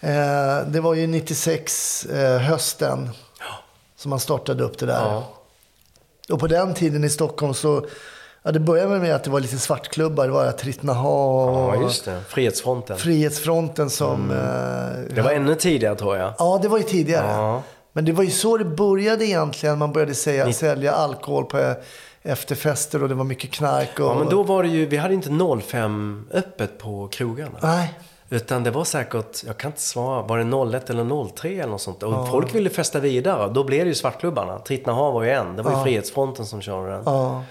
[SPEAKER 2] eh, det var ju 96, eh, hösten, som man startade upp det där. Och på den tiden i Stockholm så, ja, det började med att det var lite svartklubbar. Det var Trittnaha och
[SPEAKER 4] Ja, just det. Mm. Frihetsfronten.
[SPEAKER 2] Frihetsfronten som... eh,
[SPEAKER 4] Det var ännu tidigare tror jag.
[SPEAKER 2] Ja, det var ju tidigare.
[SPEAKER 4] Ja.
[SPEAKER 2] Men det var ju så det började egentligen. Man började säga, sälja alkohol på eh, efterfester och det var mycket knark. Och,
[SPEAKER 4] Ja, men då var det ju, vi hade inte 05 öppet på krogarna.
[SPEAKER 2] Nej.
[SPEAKER 4] Utan det var säkert, jag kan inte svara, var det 01 eller 03 eller något sånt? Och folk ville festa vidare. Då blev det ju svartklubbarna. Trittnaha var ju en. Det var ju Frihetsfronten som körde den.
[SPEAKER 2] Ja.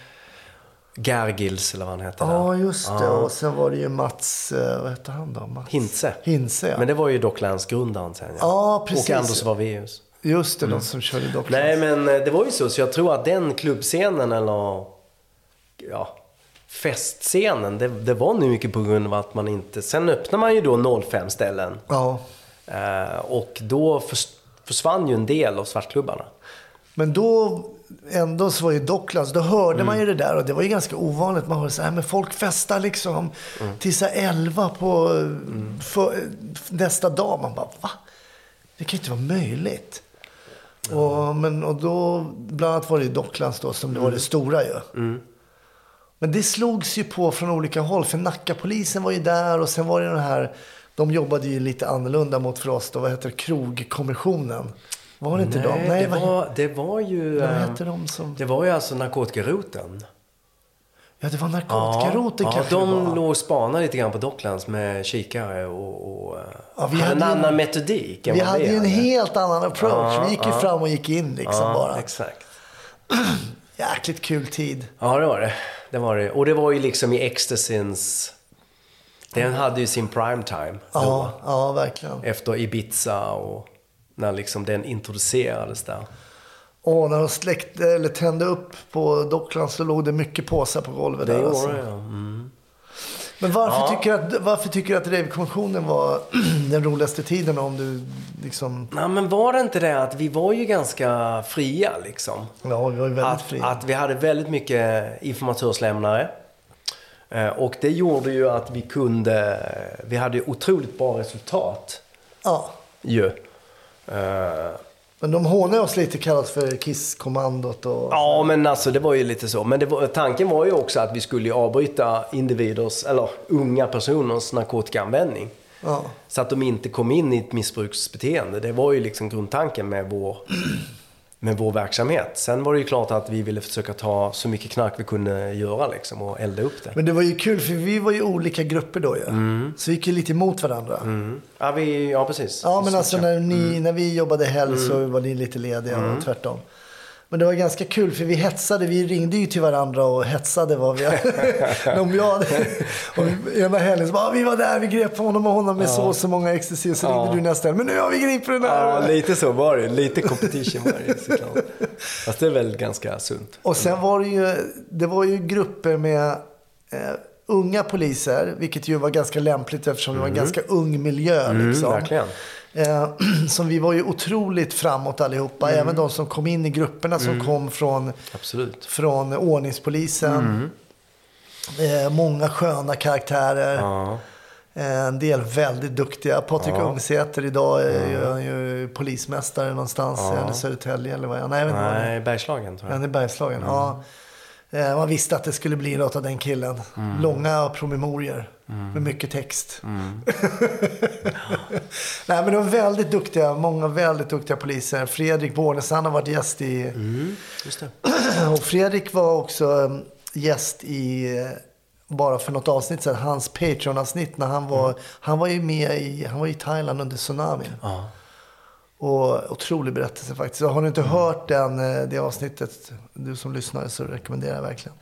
[SPEAKER 4] Gergils eller vad han hette. där.
[SPEAKER 2] Ja, just det. Och sen var det ju Mats, eh, vad hette han då? Mats?
[SPEAKER 4] Hintze.
[SPEAKER 2] Hintze, ja.
[SPEAKER 4] Men det var ju Docklands-grundaren sen.
[SPEAKER 2] Ja, precis.
[SPEAKER 4] Och Anders Varveus.
[SPEAKER 2] Just det, de som körde dock.
[SPEAKER 4] Mm. Nej, men eh, det var ju så. Så jag tror att den klubbscenen eller ja, festscenen, det, det var nu mycket på grund av att man inte... Sen öppnade man ju då 05 ställen.
[SPEAKER 2] Ja.
[SPEAKER 4] Eh, och då förs- försvann ju en del av svartklubbarna.
[SPEAKER 2] Men då, ändå så var ju Docklands, då hörde man
[SPEAKER 4] Mm.
[SPEAKER 2] ju det där och det var ju ganska ovanligt. Man hörde så här, men folk festar liksom
[SPEAKER 4] Mm.
[SPEAKER 2] tills så här 11 på eh, för, eh, nästa dag. Man bara, va? Det kan ju inte vara möjligt.
[SPEAKER 4] Mm.
[SPEAKER 2] Och, men, och då, bland annat var det ju Docklands då som det var det stora ju. Men det slogs ju på från olika håll. För Nackapolisen var ju där och sen var det den här... De jobbade ju lite annorlunda mot för oss då. Vad heter det? Krogkommissionen. Var det inte de?
[SPEAKER 4] Nej, det,
[SPEAKER 2] vad-
[SPEAKER 4] var, det var ju...
[SPEAKER 2] vad
[SPEAKER 4] eh,
[SPEAKER 2] hette de som-
[SPEAKER 4] Det var ju alltså narkotikaroteln.
[SPEAKER 2] Ja, det var narkotikaroteln
[SPEAKER 4] ja,
[SPEAKER 2] kanske det
[SPEAKER 4] de
[SPEAKER 2] var.
[SPEAKER 4] låg och spanade lite grann på Docklands med kikare och, och eh,
[SPEAKER 2] Ja, vi
[SPEAKER 4] hade en
[SPEAKER 2] hade ju-
[SPEAKER 4] annan metodik än
[SPEAKER 2] Vi
[SPEAKER 4] vad
[SPEAKER 2] hade ju en
[SPEAKER 4] hade.
[SPEAKER 2] helt annan approach. Vi gick ju
[SPEAKER 4] ja.
[SPEAKER 2] fram och gick in liksom
[SPEAKER 4] ja,
[SPEAKER 2] bara.
[SPEAKER 4] Exakt.
[SPEAKER 2] Jäkligt kul tid.
[SPEAKER 4] Ja, det var det. det var det. Och det var ju liksom i ecstasins... Den hade ju sin prime time då.
[SPEAKER 2] Ja, ja verkligen.
[SPEAKER 4] Efter Ibiza och när liksom den introducerades där.
[SPEAKER 2] Och när de släckte, eller tände upp på Docklands så låg det mycket påsar på golvet.
[SPEAKER 4] Det
[SPEAKER 2] där,
[SPEAKER 4] gjorde
[SPEAKER 2] alltså.
[SPEAKER 4] det, ja. Mm.
[SPEAKER 2] Men varför,
[SPEAKER 4] Ja.
[SPEAKER 2] tycker du att, varför tycker du att Rave-kommissionen var den roligaste tiden om du liksom...
[SPEAKER 4] Nej, men var det inte det att vi var ju ganska fria liksom?
[SPEAKER 2] Ja, vi var ju väldigt
[SPEAKER 4] att,
[SPEAKER 2] fria.
[SPEAKER 4] att vi hade väldigt mycket informatörslämnare. Eh, Och det gjorde ju att vi kunde, vi hade ju otroligt bra resultat
[SPEAKER 2] Ja.
[SPEAKER 4] ju. Eh,
[SPEAKER 2] Men de hånade oss lite, kallas för Kiss-kommandot och...
[SPEAKER 4] Ja, men alltså det var ju lite så. Men det var, tanken var ju också att vi skulle ju avbryta individers, eller unga personers narkotikaanvändning.
[SPEAKER 2] Ja.
[SPEAKER 4] Så att de inte kom in i ett missbruksbeteende. Det var ju liksom grundtanken med vår, med vår verksamhet. Sen var det ju klart att vi ville försöka ta så mycket knark vi kunde göra liksom och elda upp det.
[SPEAKER 2] Men det var ju kul, för vi var ju olika grupper då ju. Så vi gick ju lite emot varandra.
[SPEAKER 4] Mm. Ja, vi, ja, precis.
[SPEAKER 2] Ja,
[SPEAKER 4] Vi
[SPEAKER 2] men alltså
[SPEAKER 4] switchade.
[SPEAKER 2] när, ni, när vi jobbade helg
[SPEAKER 4] Mm.
[SPEAKER 2] så var ni lite lediga och tvärtom. Men det var ganska kul för vi hetsade, vi ringde ju till varandra och hetsade vad vi om jag hade. Och ena helgen så bara, "Ah, vi var där, vi grep honom och honom med så och så många ecstasy. Och så ringde du nästa helg, men nu har vi gripit den
[SPEAKER 4] Ja,
[SPEAKER 2] här.
[SPEAKER 4] lite så var det. Lite competition var det såklart. Fast det är väl ganska sunt.
[SPEAKER 2] Och sen var det ju, det var ju grupper med eh, unga poliser, vilket ju var ganska lämpligt eftersom det var en ganska ung miljö. Liksom.
[SPEAKER 4] Mm. verkligen.
[SPEAKER 2] Eh, som vi var ju otroligt framåt allihopa, även de som kom in i grupperna som kom från,
[SPEAKER 4] Absolut.
[SPEAKER 2] från ordningspolisen. Eh, många sköna karaktärer.
[SPEAKER 4] Ja.
[SPEAKER 2] Eh, En del väldigt duktiga. Patrik Ungsäter idag är ju, han är ju polismästare någonstans. Är han i Södertälje eller vad är han? Nej, jag vet inte vad han är.
[SPEAKER 4] Nej, Bergslagen tror jag. Mm.
[SPEAKER 2] Han är Bergslagen, ja. Eh, Man visste att det skulle bli något av den killen.
[SPEAKER 4] Mm.
[SPEAKER 2] Långa promemorier med mycket text. Nej, men de är väldigt duktiga, många väldigt duktiga poliser. Fredrik Bornes, han har varit gäst i...
[SPEAKER 4] Just det.
[SPEAKER 2] Och Fredrik var också eh, gäst i, eh, bara för något avsnitt sedan, hans Patreon-avsnitt när han var, han var ju med i, han var i Thailand under tsunamin. Och otrolig berättelse faktiskt. Och Har du inte hört den, eh, det avsnittet, du som lyssnar, så rekommenderar jag verkligen.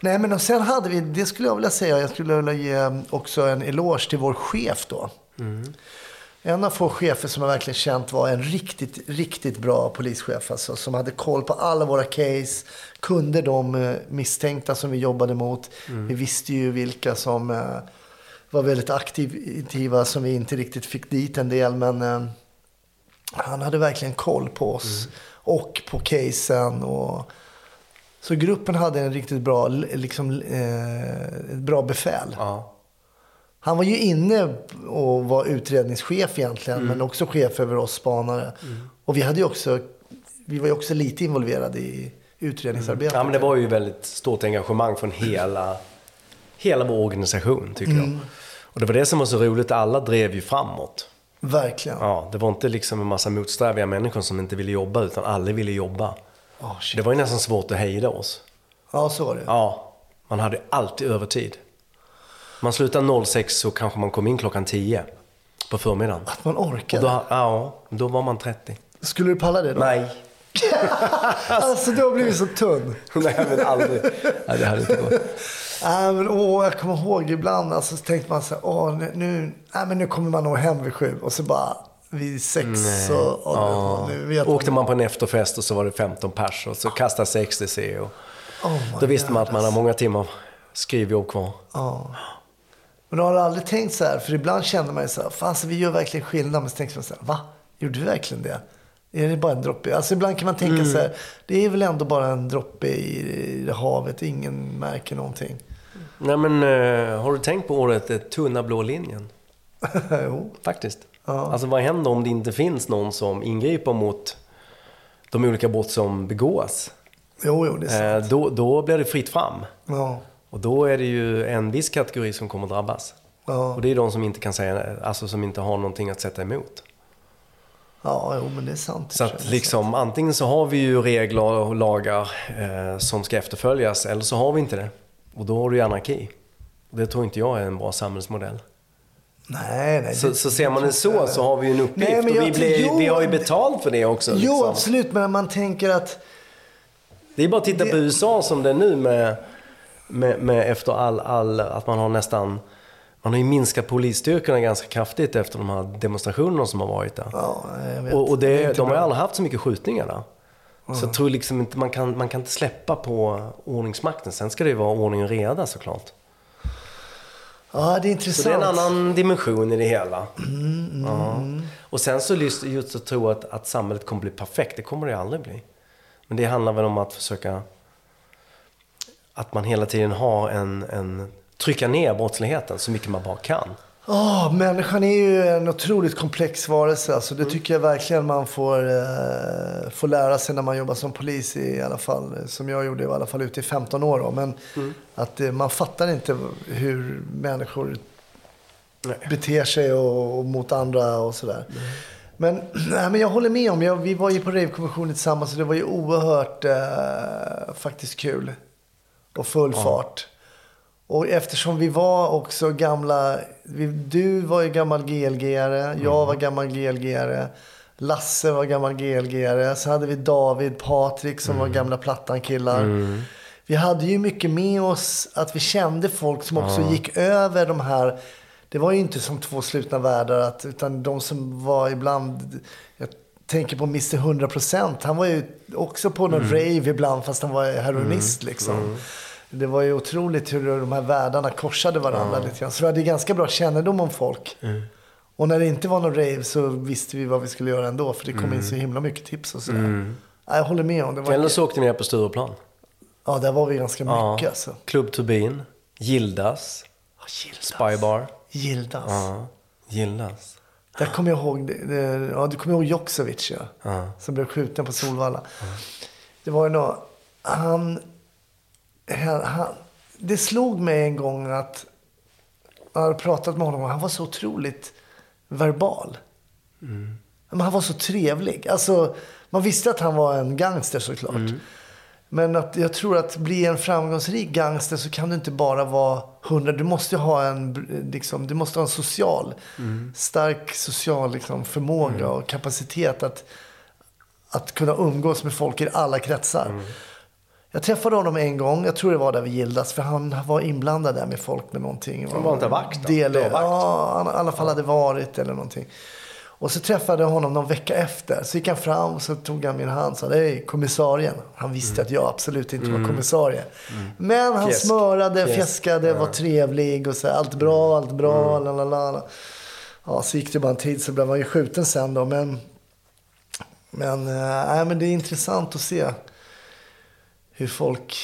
[SPEAKER 2] Nej, men och sen hade vi, det skulle jag vilja säga, jag skulle vilja ge eh, också en eloge till vår chef då. En av få chefer som jag verkligen känt var en riktigt, riktigt bra polischef. Alltså, som hade koll på alla våra case. Kunde de eh, misstänkta som vi jobbade mot. Vi visste ju vilka som eh, var väldigt aktiva som vi inte riktigt fick dit en del. Men eh, han hade verkligen koll på oss och på casen. Och... Så gruppen hade en riktigt bra, l- liksom, eh, ett bra befäl.
[SPEAKER 4] Ja.
[SPEAKER 2] Han var ju inne och var utredningschef egentligen,
[SPEAKER 4] Mm.
[SPEAKER 2] men också chef över oss spanare. Och vi, hade ju också, vi var ju också lite involverade i utredningsarbetet.
[SPEAKER 4] ja, men det var ju väldigt stort engagemang från hela, hela vår organisation tycker jag. Och det var det som var så roligt, alla drev ju framåt.
[SPEAKER 2] Verkligen.
[SPEAKER 4] Ja, det var inte liksom en massa motsträviga människor som inte ville jobba, utan alla ville jobba.
[SPEAKER 2] Ah, shit.
[SPEAKER 4] Det var ju nästan svårt att hejda oss.
[SPEAKER 2] Ja, så var det.
[SPEAKER 4] Ja, man hade alltid övertid. Man slutade 06 så kanske man kom in klockan 10 på förmiddagen.
[SPEAKER 2] Att man
[SPEAKER 4] Och
[SPEAKER 2] orkade.
[SPEAKER 4] då, ja, då var man 30.
[SPEAKER 2] Skulle du palla det då?
[SPEAKER 4] Nej,
[SPEAKER 2] Alltså, du har blivit så tunn.
[SPEAKER 4] nej men aldrig. Nej, det hade inte gått.
[SPEAKER 2] Nej, men åh, jag kommer ihåg ibland, alltså, så tänkte man så här, åh, nu, nu, nej, men nu kommer man nog hem vid sju. Och så bara vid sex så, åh, nu vet man. Ah.
[SPEAKER 4] Åkte man på en efterfest och så var det 15 pers och så kastades ecstasy. Och
[SPEAKER 2] Oh my
[SPEAKER 4] då visste man att
[SPEAKER 2] God,
[SPEAKER 4] man har många timmar skrivjobb kvar.
[SPEAKER 2] Ja. Men har du aldrig tänkt så här? För ibland känner man ju så här, fan så vi gör verkligen skillnad. Men så tänker man så här, va? Gjorde vi verkligen det? Är det bara en droppe? Alltså ibland kan man tänka
[SPEAKER 4] Mm.
[SPEAKER 2] så här, det är väl ändå bara en droppe i, i det havet, ingen märker någonting.
[SPEAKER 4] Nej men, eh, har du tänkt på ordet eh, tunna blå linjen?
[SPEAKER 2] jo.
[SPEAKER 4] Faktiskt. Alltså vad händer om det inte finns någon som ingriper mot de olika brott som begås?
[SPEAKER 2] jo, jo, det är så.
[SPEAKER 4] Eh, då, då blir det fritt fram.
[SPEAKER 2] Ja.
[SPEAKER 4] Och då är det ju en viss kategori som kommer drabbas.
[SPEAKER 2] Ja.
[SPEAKER 4] Och det är de som inte kan säga nej, alltså som inte har någonting att sätta emot.
[SPEAKER 2] Ja, jo, men det är sant.
[SPEAKER 4] Så att liksom, antingen så har vi ju regler och lagar eh, som ska efterföljas eller så har vi inte det. Och då har du ju anarki. Och det tror inte jag är en bra samhällsmodell.
[SPEAKER 2] Nej, nej.
[SPEAKER 4] Så,
[SPEAKER 2] det-
[SPEAKER 4] så ser man det
[SPEAKER 2] tror
[SPEAKER 4] så
[SPEAKER 2] jag.
[SPEAKER 4] så har vi ju en uppgift
[SPEAKER 2] Nej, men jag
[SPEAKER 4] och vi,
[SPEAKER 2] tror- jo,
[SPEAKER 4] blir, vi har ju betalt för det också.
[SPEAKER 2] Jo,
[SPEAKER 4] liksom.
[SPEAKER 2] absolut, men man tänker att...
[SPEAKER 4] Det är bara att titta på
[SPEAKER 2] Det-
[SPEAKER 4] USA som det är nu med, med, med efter all, all, att man har nästan, man har ju minskat polisstyrkorna ganska kraftigt efter de här demonstrationerna som har varit där.
[SPEAKER 2] Ja, jag vet.
[SPEAKER 4] Och, och det,
[SPEAKER 2] är inte
[SPEAKER 4] de har
[SPEAKER 2] bra. Mm.
[SPEAKER 4] ju aldrig haft så mycket skjutningar där. Så jag tror liksom inte, man kan, man kan inte släppa på ordningsmakten. Sen ska det ju vara ordning och reda såklart.
[SPEAKER 2] Ja, det är
[SPEAKER 4] Så
[SPEAKER 2] intressant.
[SPEAKER 4] det är en annan dimension i det hela.
[SPEAKER 2] Mm,
[SPEAKER 4] Ja. Och sen så just, just att tro att, att samhället kommer bli perfekt, det kommer det aldrig bli. Men det handlar väl om att försöka, att man hela tiden har en, en trycka ner brottsligheten så mycket man bara kan.
[SPEAKER 2] Ja, människan är ju en otroligt komplex varelse. Alltså, det tycker jag verkligen man får, eh, får lära sig när man jobbar som polis i alla fall. eh, Som jag gjorde i alla fall ute i 15 år. Då. Men att eh, man fattar inte hur människor beter sig och, och mot andra och sådär. Men, nej, men jag håller med om, jag, vi var ju på ravekonventionen tillsammans och det var ju oerhört eh, faktiskt kul. Och full fart. Och eftersom vi var också gamla, vi, du var ju gammal GLG-are, jag var gammal GLG-are, Lasse var gammal GLG-are, så hade vi David, Patrik som var gamla Plattan-killar. Vi hade ju mycket med oss att vi kände folk som också gick över de här det var ju inte som två slutna världar, att, utan de som var ibland... Jag tänker på Mr 100%. Han var ju också på
[SPEAKER 4] Mm.
[SPEAKER 2] någon rave ibland, fast han var heroinist liksom. Det var ju otroligt hur de här världarna korsade varandra lite grann. Så vi hade ju ganska bra kännedom om folk.
[SPEAKER 4] Mm.
[SPEAKER 2] Och när det inte var någon rave så visste vi vad vi skulle göra ändå, för det kom in så himla mycket tips och sådär. Ja, Jag håller med om det. Var...
[SPEAKER 4] Mm. Eller så åkte ni ner på Stureplan.
[SPEAKER 2] Ja, där var vi ganska
[SPEAKER 4] Ja.
[SPEAKER 2] mycket alltså.
[SPEAKER 4] Club Turbin, Gildas, Spybar.
[SPEAKER 2] Gildas.
[SPEAKER 4] Ja, Gildas.
[SPEAKER 2] Där kommer jag ihåg, det- det- ja, du kommer ihåg Joksovic ja. Som blev skjuten på Solvalla. Det var ju nå, han, han, han, det slog mig en gång att, jag hade pratat med honom och han var så otroligt verbal. Men han var så trevlig. Alltså, man visste att han var en gangster såklart.
[SPEAKER 4] Mm.
[SPEAKER 2] Men att jag tror att bli en framgångsrik gangster så kan du inte bara vara hundra. Du måste ju ha en, br- liksom, du måste ha en social,
[SPEAKER 4] Mm.
[SPEAKER 2] stark social liksom, förmåga och kapacitet att, att kunna umgås med folk i alla kretsar.
[SPEAKER 4] Mm.
[SPEAKER 2] Jag träffade honom en gång, jag tror det var där vid Gildas, för han var inblandad där med folk med någonting.
[SPEAKER 4] Han var inte vakt då?
[SPEAKER 2] Del,
[SPEAKER 4] Det var vakt.
[SPEAKER 2] Ja, han i alla fall hade varit eller någonting. Och så träffade jag honom någon vecka efter. Så gick han fram och så tog han min hand och sa hej kommissarien. Han visste att jag absolut inte var kommissarie. Men han
[SPEAKER 4] Fjäsk.
[SPEAKER 2] smörade,
[SPEAKER 4] Fjäsk.
[SPEAKER 2] fjäskade, var trevlig och så här, allt bra,
[SPEAKER 4] Mm.
[SPEAKER 2] allt bra, la la la. la." Ja, så gick det bara en tid så blev han ju skjuten sen då. Men, men, eh, nej, men det är intressant att se hur folk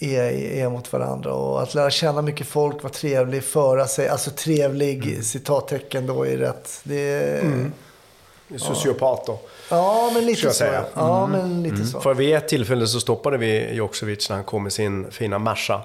[SPEAKER 2] är, är mot varandra. Och att lära känna mycket folk, vara trevlig, föra sig. Alltså trevlig,
[SPEAKER 4] Mm.
[SPEAKER 2] citattecken då är rätt. Det är,
[SPEAKER 6] Sociopater.
[SPEAKER 2] Ja, men lite
[SPEAKER 6] Ska jag
[SPEAKER 2] så.
[SPEAKER 6] säga.
[SPEAKER 2] Ja,
[SPEAKER 4] Mm.
[SPEAKER 2] men lite så.
[SPEAKER 4] För vid ett tillfälle så stoppade vi Joksovic när han kom med sin fina Merca.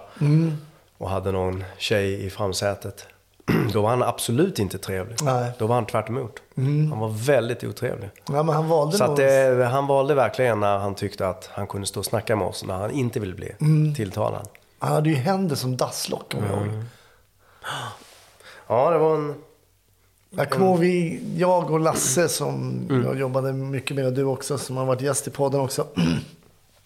[SPEAKER 4] Och hade någon tjej i framsätet. Då var han absolut inte trevlig.
[SPEAKER 2] Nej.
[SPEAKER 4] Då var han tvärt emot. Han var väldigt otrevlig.
[SPEAKER 2] Ja, men han valde
[SPEAKER 4] Så
[SPEAKER 2] nog...
[SPEAKER 4] att det, han valde verkligen när han tyckte att han kunde stå och snacka med oss när han inte ville bli tilltalad.
[SPEAKER 2] Han hade ju händer som dasslock
[SPEAKER 4] Mm.
[SPEAKER 2] om jag ihåg.
[SPEAKER 4] Ja, det var en...
[SPEAKER 2] Jag kommer ihåg vi, jag och Lasse som jag jobbade mycket med och du också som har varit gäst i podden också.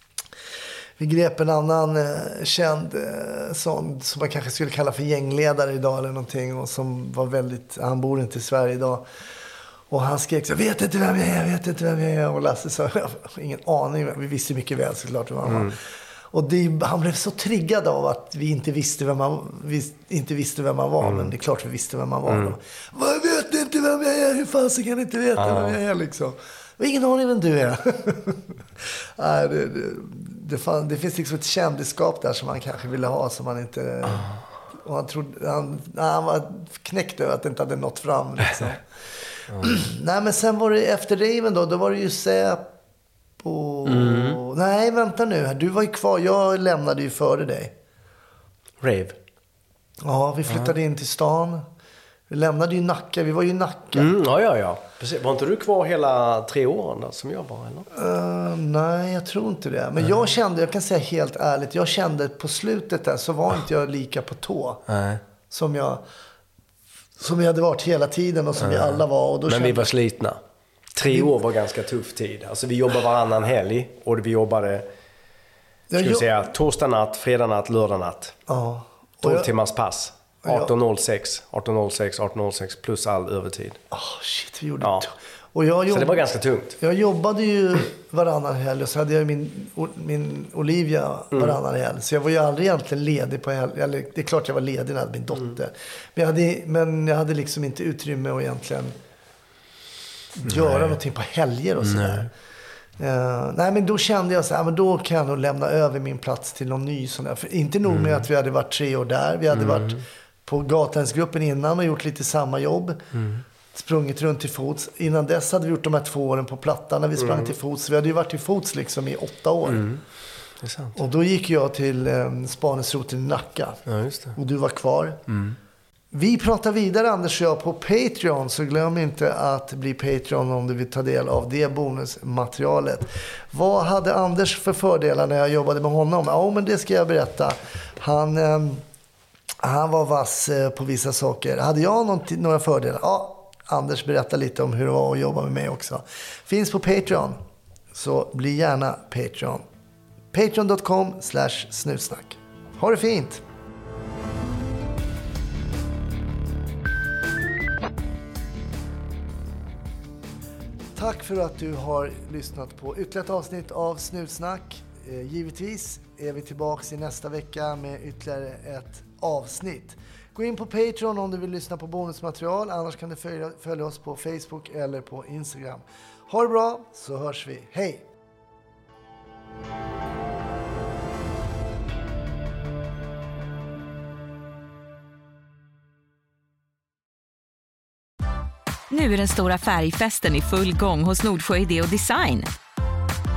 [SPEAKER 2] Vi grep en annan eh, känd eh, sån som man kanske skulle kalla för gängledare idag eller någonting. Och som var väldigt, han bor inte i Sverige idag. Och han skrek så jag vet inte vem jag är, jag vet inte vem jag är. Och Lasse sa, jag har ingen aning. Vi visste ju mycket väl såklart vem han var. Och det, han blev så triggad av att vi inte visste vem han, vi inte visste vem han var. Men det är klart vi visste vem han var. Mm. Jag vet inte vem jag är, hur fan så kan ni inte veta vem jag är liksom? Jag har ingen aning vem du är. Nej, det, det, det, fan, det finns liksom ett kändisskap där som han kanske ville ha som han inte... Och han, trodde, han, nej, han var knäckt över att det inte hade nått fram. Liksom. Nej, men sen var det efter raven då. Då var det ju Säpo... Nej, vänta nu. här. Du var ju kvar. Jag lämnade ju före dig.
[SPEAKER 7] Rave.
[SPEAKER 2] Ja, vi flyttade in till stan. Vi lämnade ju Nacka. Vi var ju i Nacka.
[SPEAKER 7] Mm, ja, ja, ja. Precis. Var inte du kvar hela tre åren där, som jag var? Eller?
[SPEAKER 2] Eh, nej, jag tror inte det. Men jag kände, jag kan säga helt ärligt, jag kände på slutet där så var inte jag lika på tå.
[SPEAKER 7] Nej.
[SPEAKER 2] Som jag, som jag hade varit hela tiden och som vi alla var. Och då
[SPEAKER 7] Men
[SPEAKER 2] kände,
[SPEAKER 7] vi var slitna. Tre år var ganska tuff tid. Alltså vi jobbade varannan helg och vi jobbade,
[SPEAKER 2] jag,
[SPEAKER 7] ska vi
[SPEAKER 2] jo-
[SPEAKER 7] säga, torsdag natt, fredag natt, lördag natt.
[SPEAKER 2] Ja. Och
[SPEAKER 7] 12
[SPEAKER 2] jag,
[SPEAKER 7] timmars pass. 18.06, 18.06, 18.06 plus all övertid.
[SPEAKER 2] Ah, shit, vi gjorde
[SPEAKER 7] Ja.
[SPEAKER 2] to- och jag
[SPEAKER 7] Så det
[SPEAKER 2] jobb-
[SPEAKER 7] var ganska tungt.
[SPEAKER 2] Jag jobbade ju varannan helg och så hade jag min, o- min Olivia
[SPEAKER 7] Mm.
[SPEAKER 2] varannan helg. Så jag var ju aldrig egentligen ledig på helg. Eller det är klart jag var ledig när jag hade min dotter.
[SPEAKER 7] Mm.
[SPEAKER 2] Men, jag hade, men jag hade liksom inte utrymme att egentligen göra någonting på helger och sådär. Nej. nej men då kände jag så här, men då kan jag nog lämna över min plats till någon ny sån där. För inte nog med att vi hade varit tre år där. Vi hade varit på Gatlänsgruppen innan och gjort lite samma jobb sprungit runt till fots. Innan dess hade vi gjort de här två åren på Plattan när vi sprang till fots. Vi hade ju varit till fots liksom i åtta år.
[SPEAKER 7] Det är sant.
[SPEAKER 2] Och då gick jag till eh, Spaningsroteln i Nacka.
[SPEAKER 7] Ja, just det. Mm.
[SPEAKER 2] Och du var kvar. Vi pratar vidare Anders och jag på Patreon. Så glöm inte att bli Patreon om du vill ta del av det bonusmaterialet. Vad hade Anders för fördelar när jag jobbade med honom? Ja, men det ska jag berätta. Han... ehm, han var vass eh, på vissa saker. Hade jag någon, några fördelar? Ja, Anders berättar lite om hur det var att jobba med mig också. Finns på Patreon. Så bli gärna Patreon. Patreon.com slash snutsnack. Ha det fint! Tack för att du har lyssnat på ytterligare ett avsnitt av Snutsnack. Eh, Givetvis är vi tillbaks i nästa vecka med ytterligare ett avsnitt. Gå in på Patreon om du vill lyssna på bonusmaterial. Annars kan du följa, följa oss på Facebook eller på Instagram. Ha det bra, så hörs vi. Hej!
[SPEAKER 1] Nu är den stora färgfesten i full gång hos Nordsjö Idé och Design.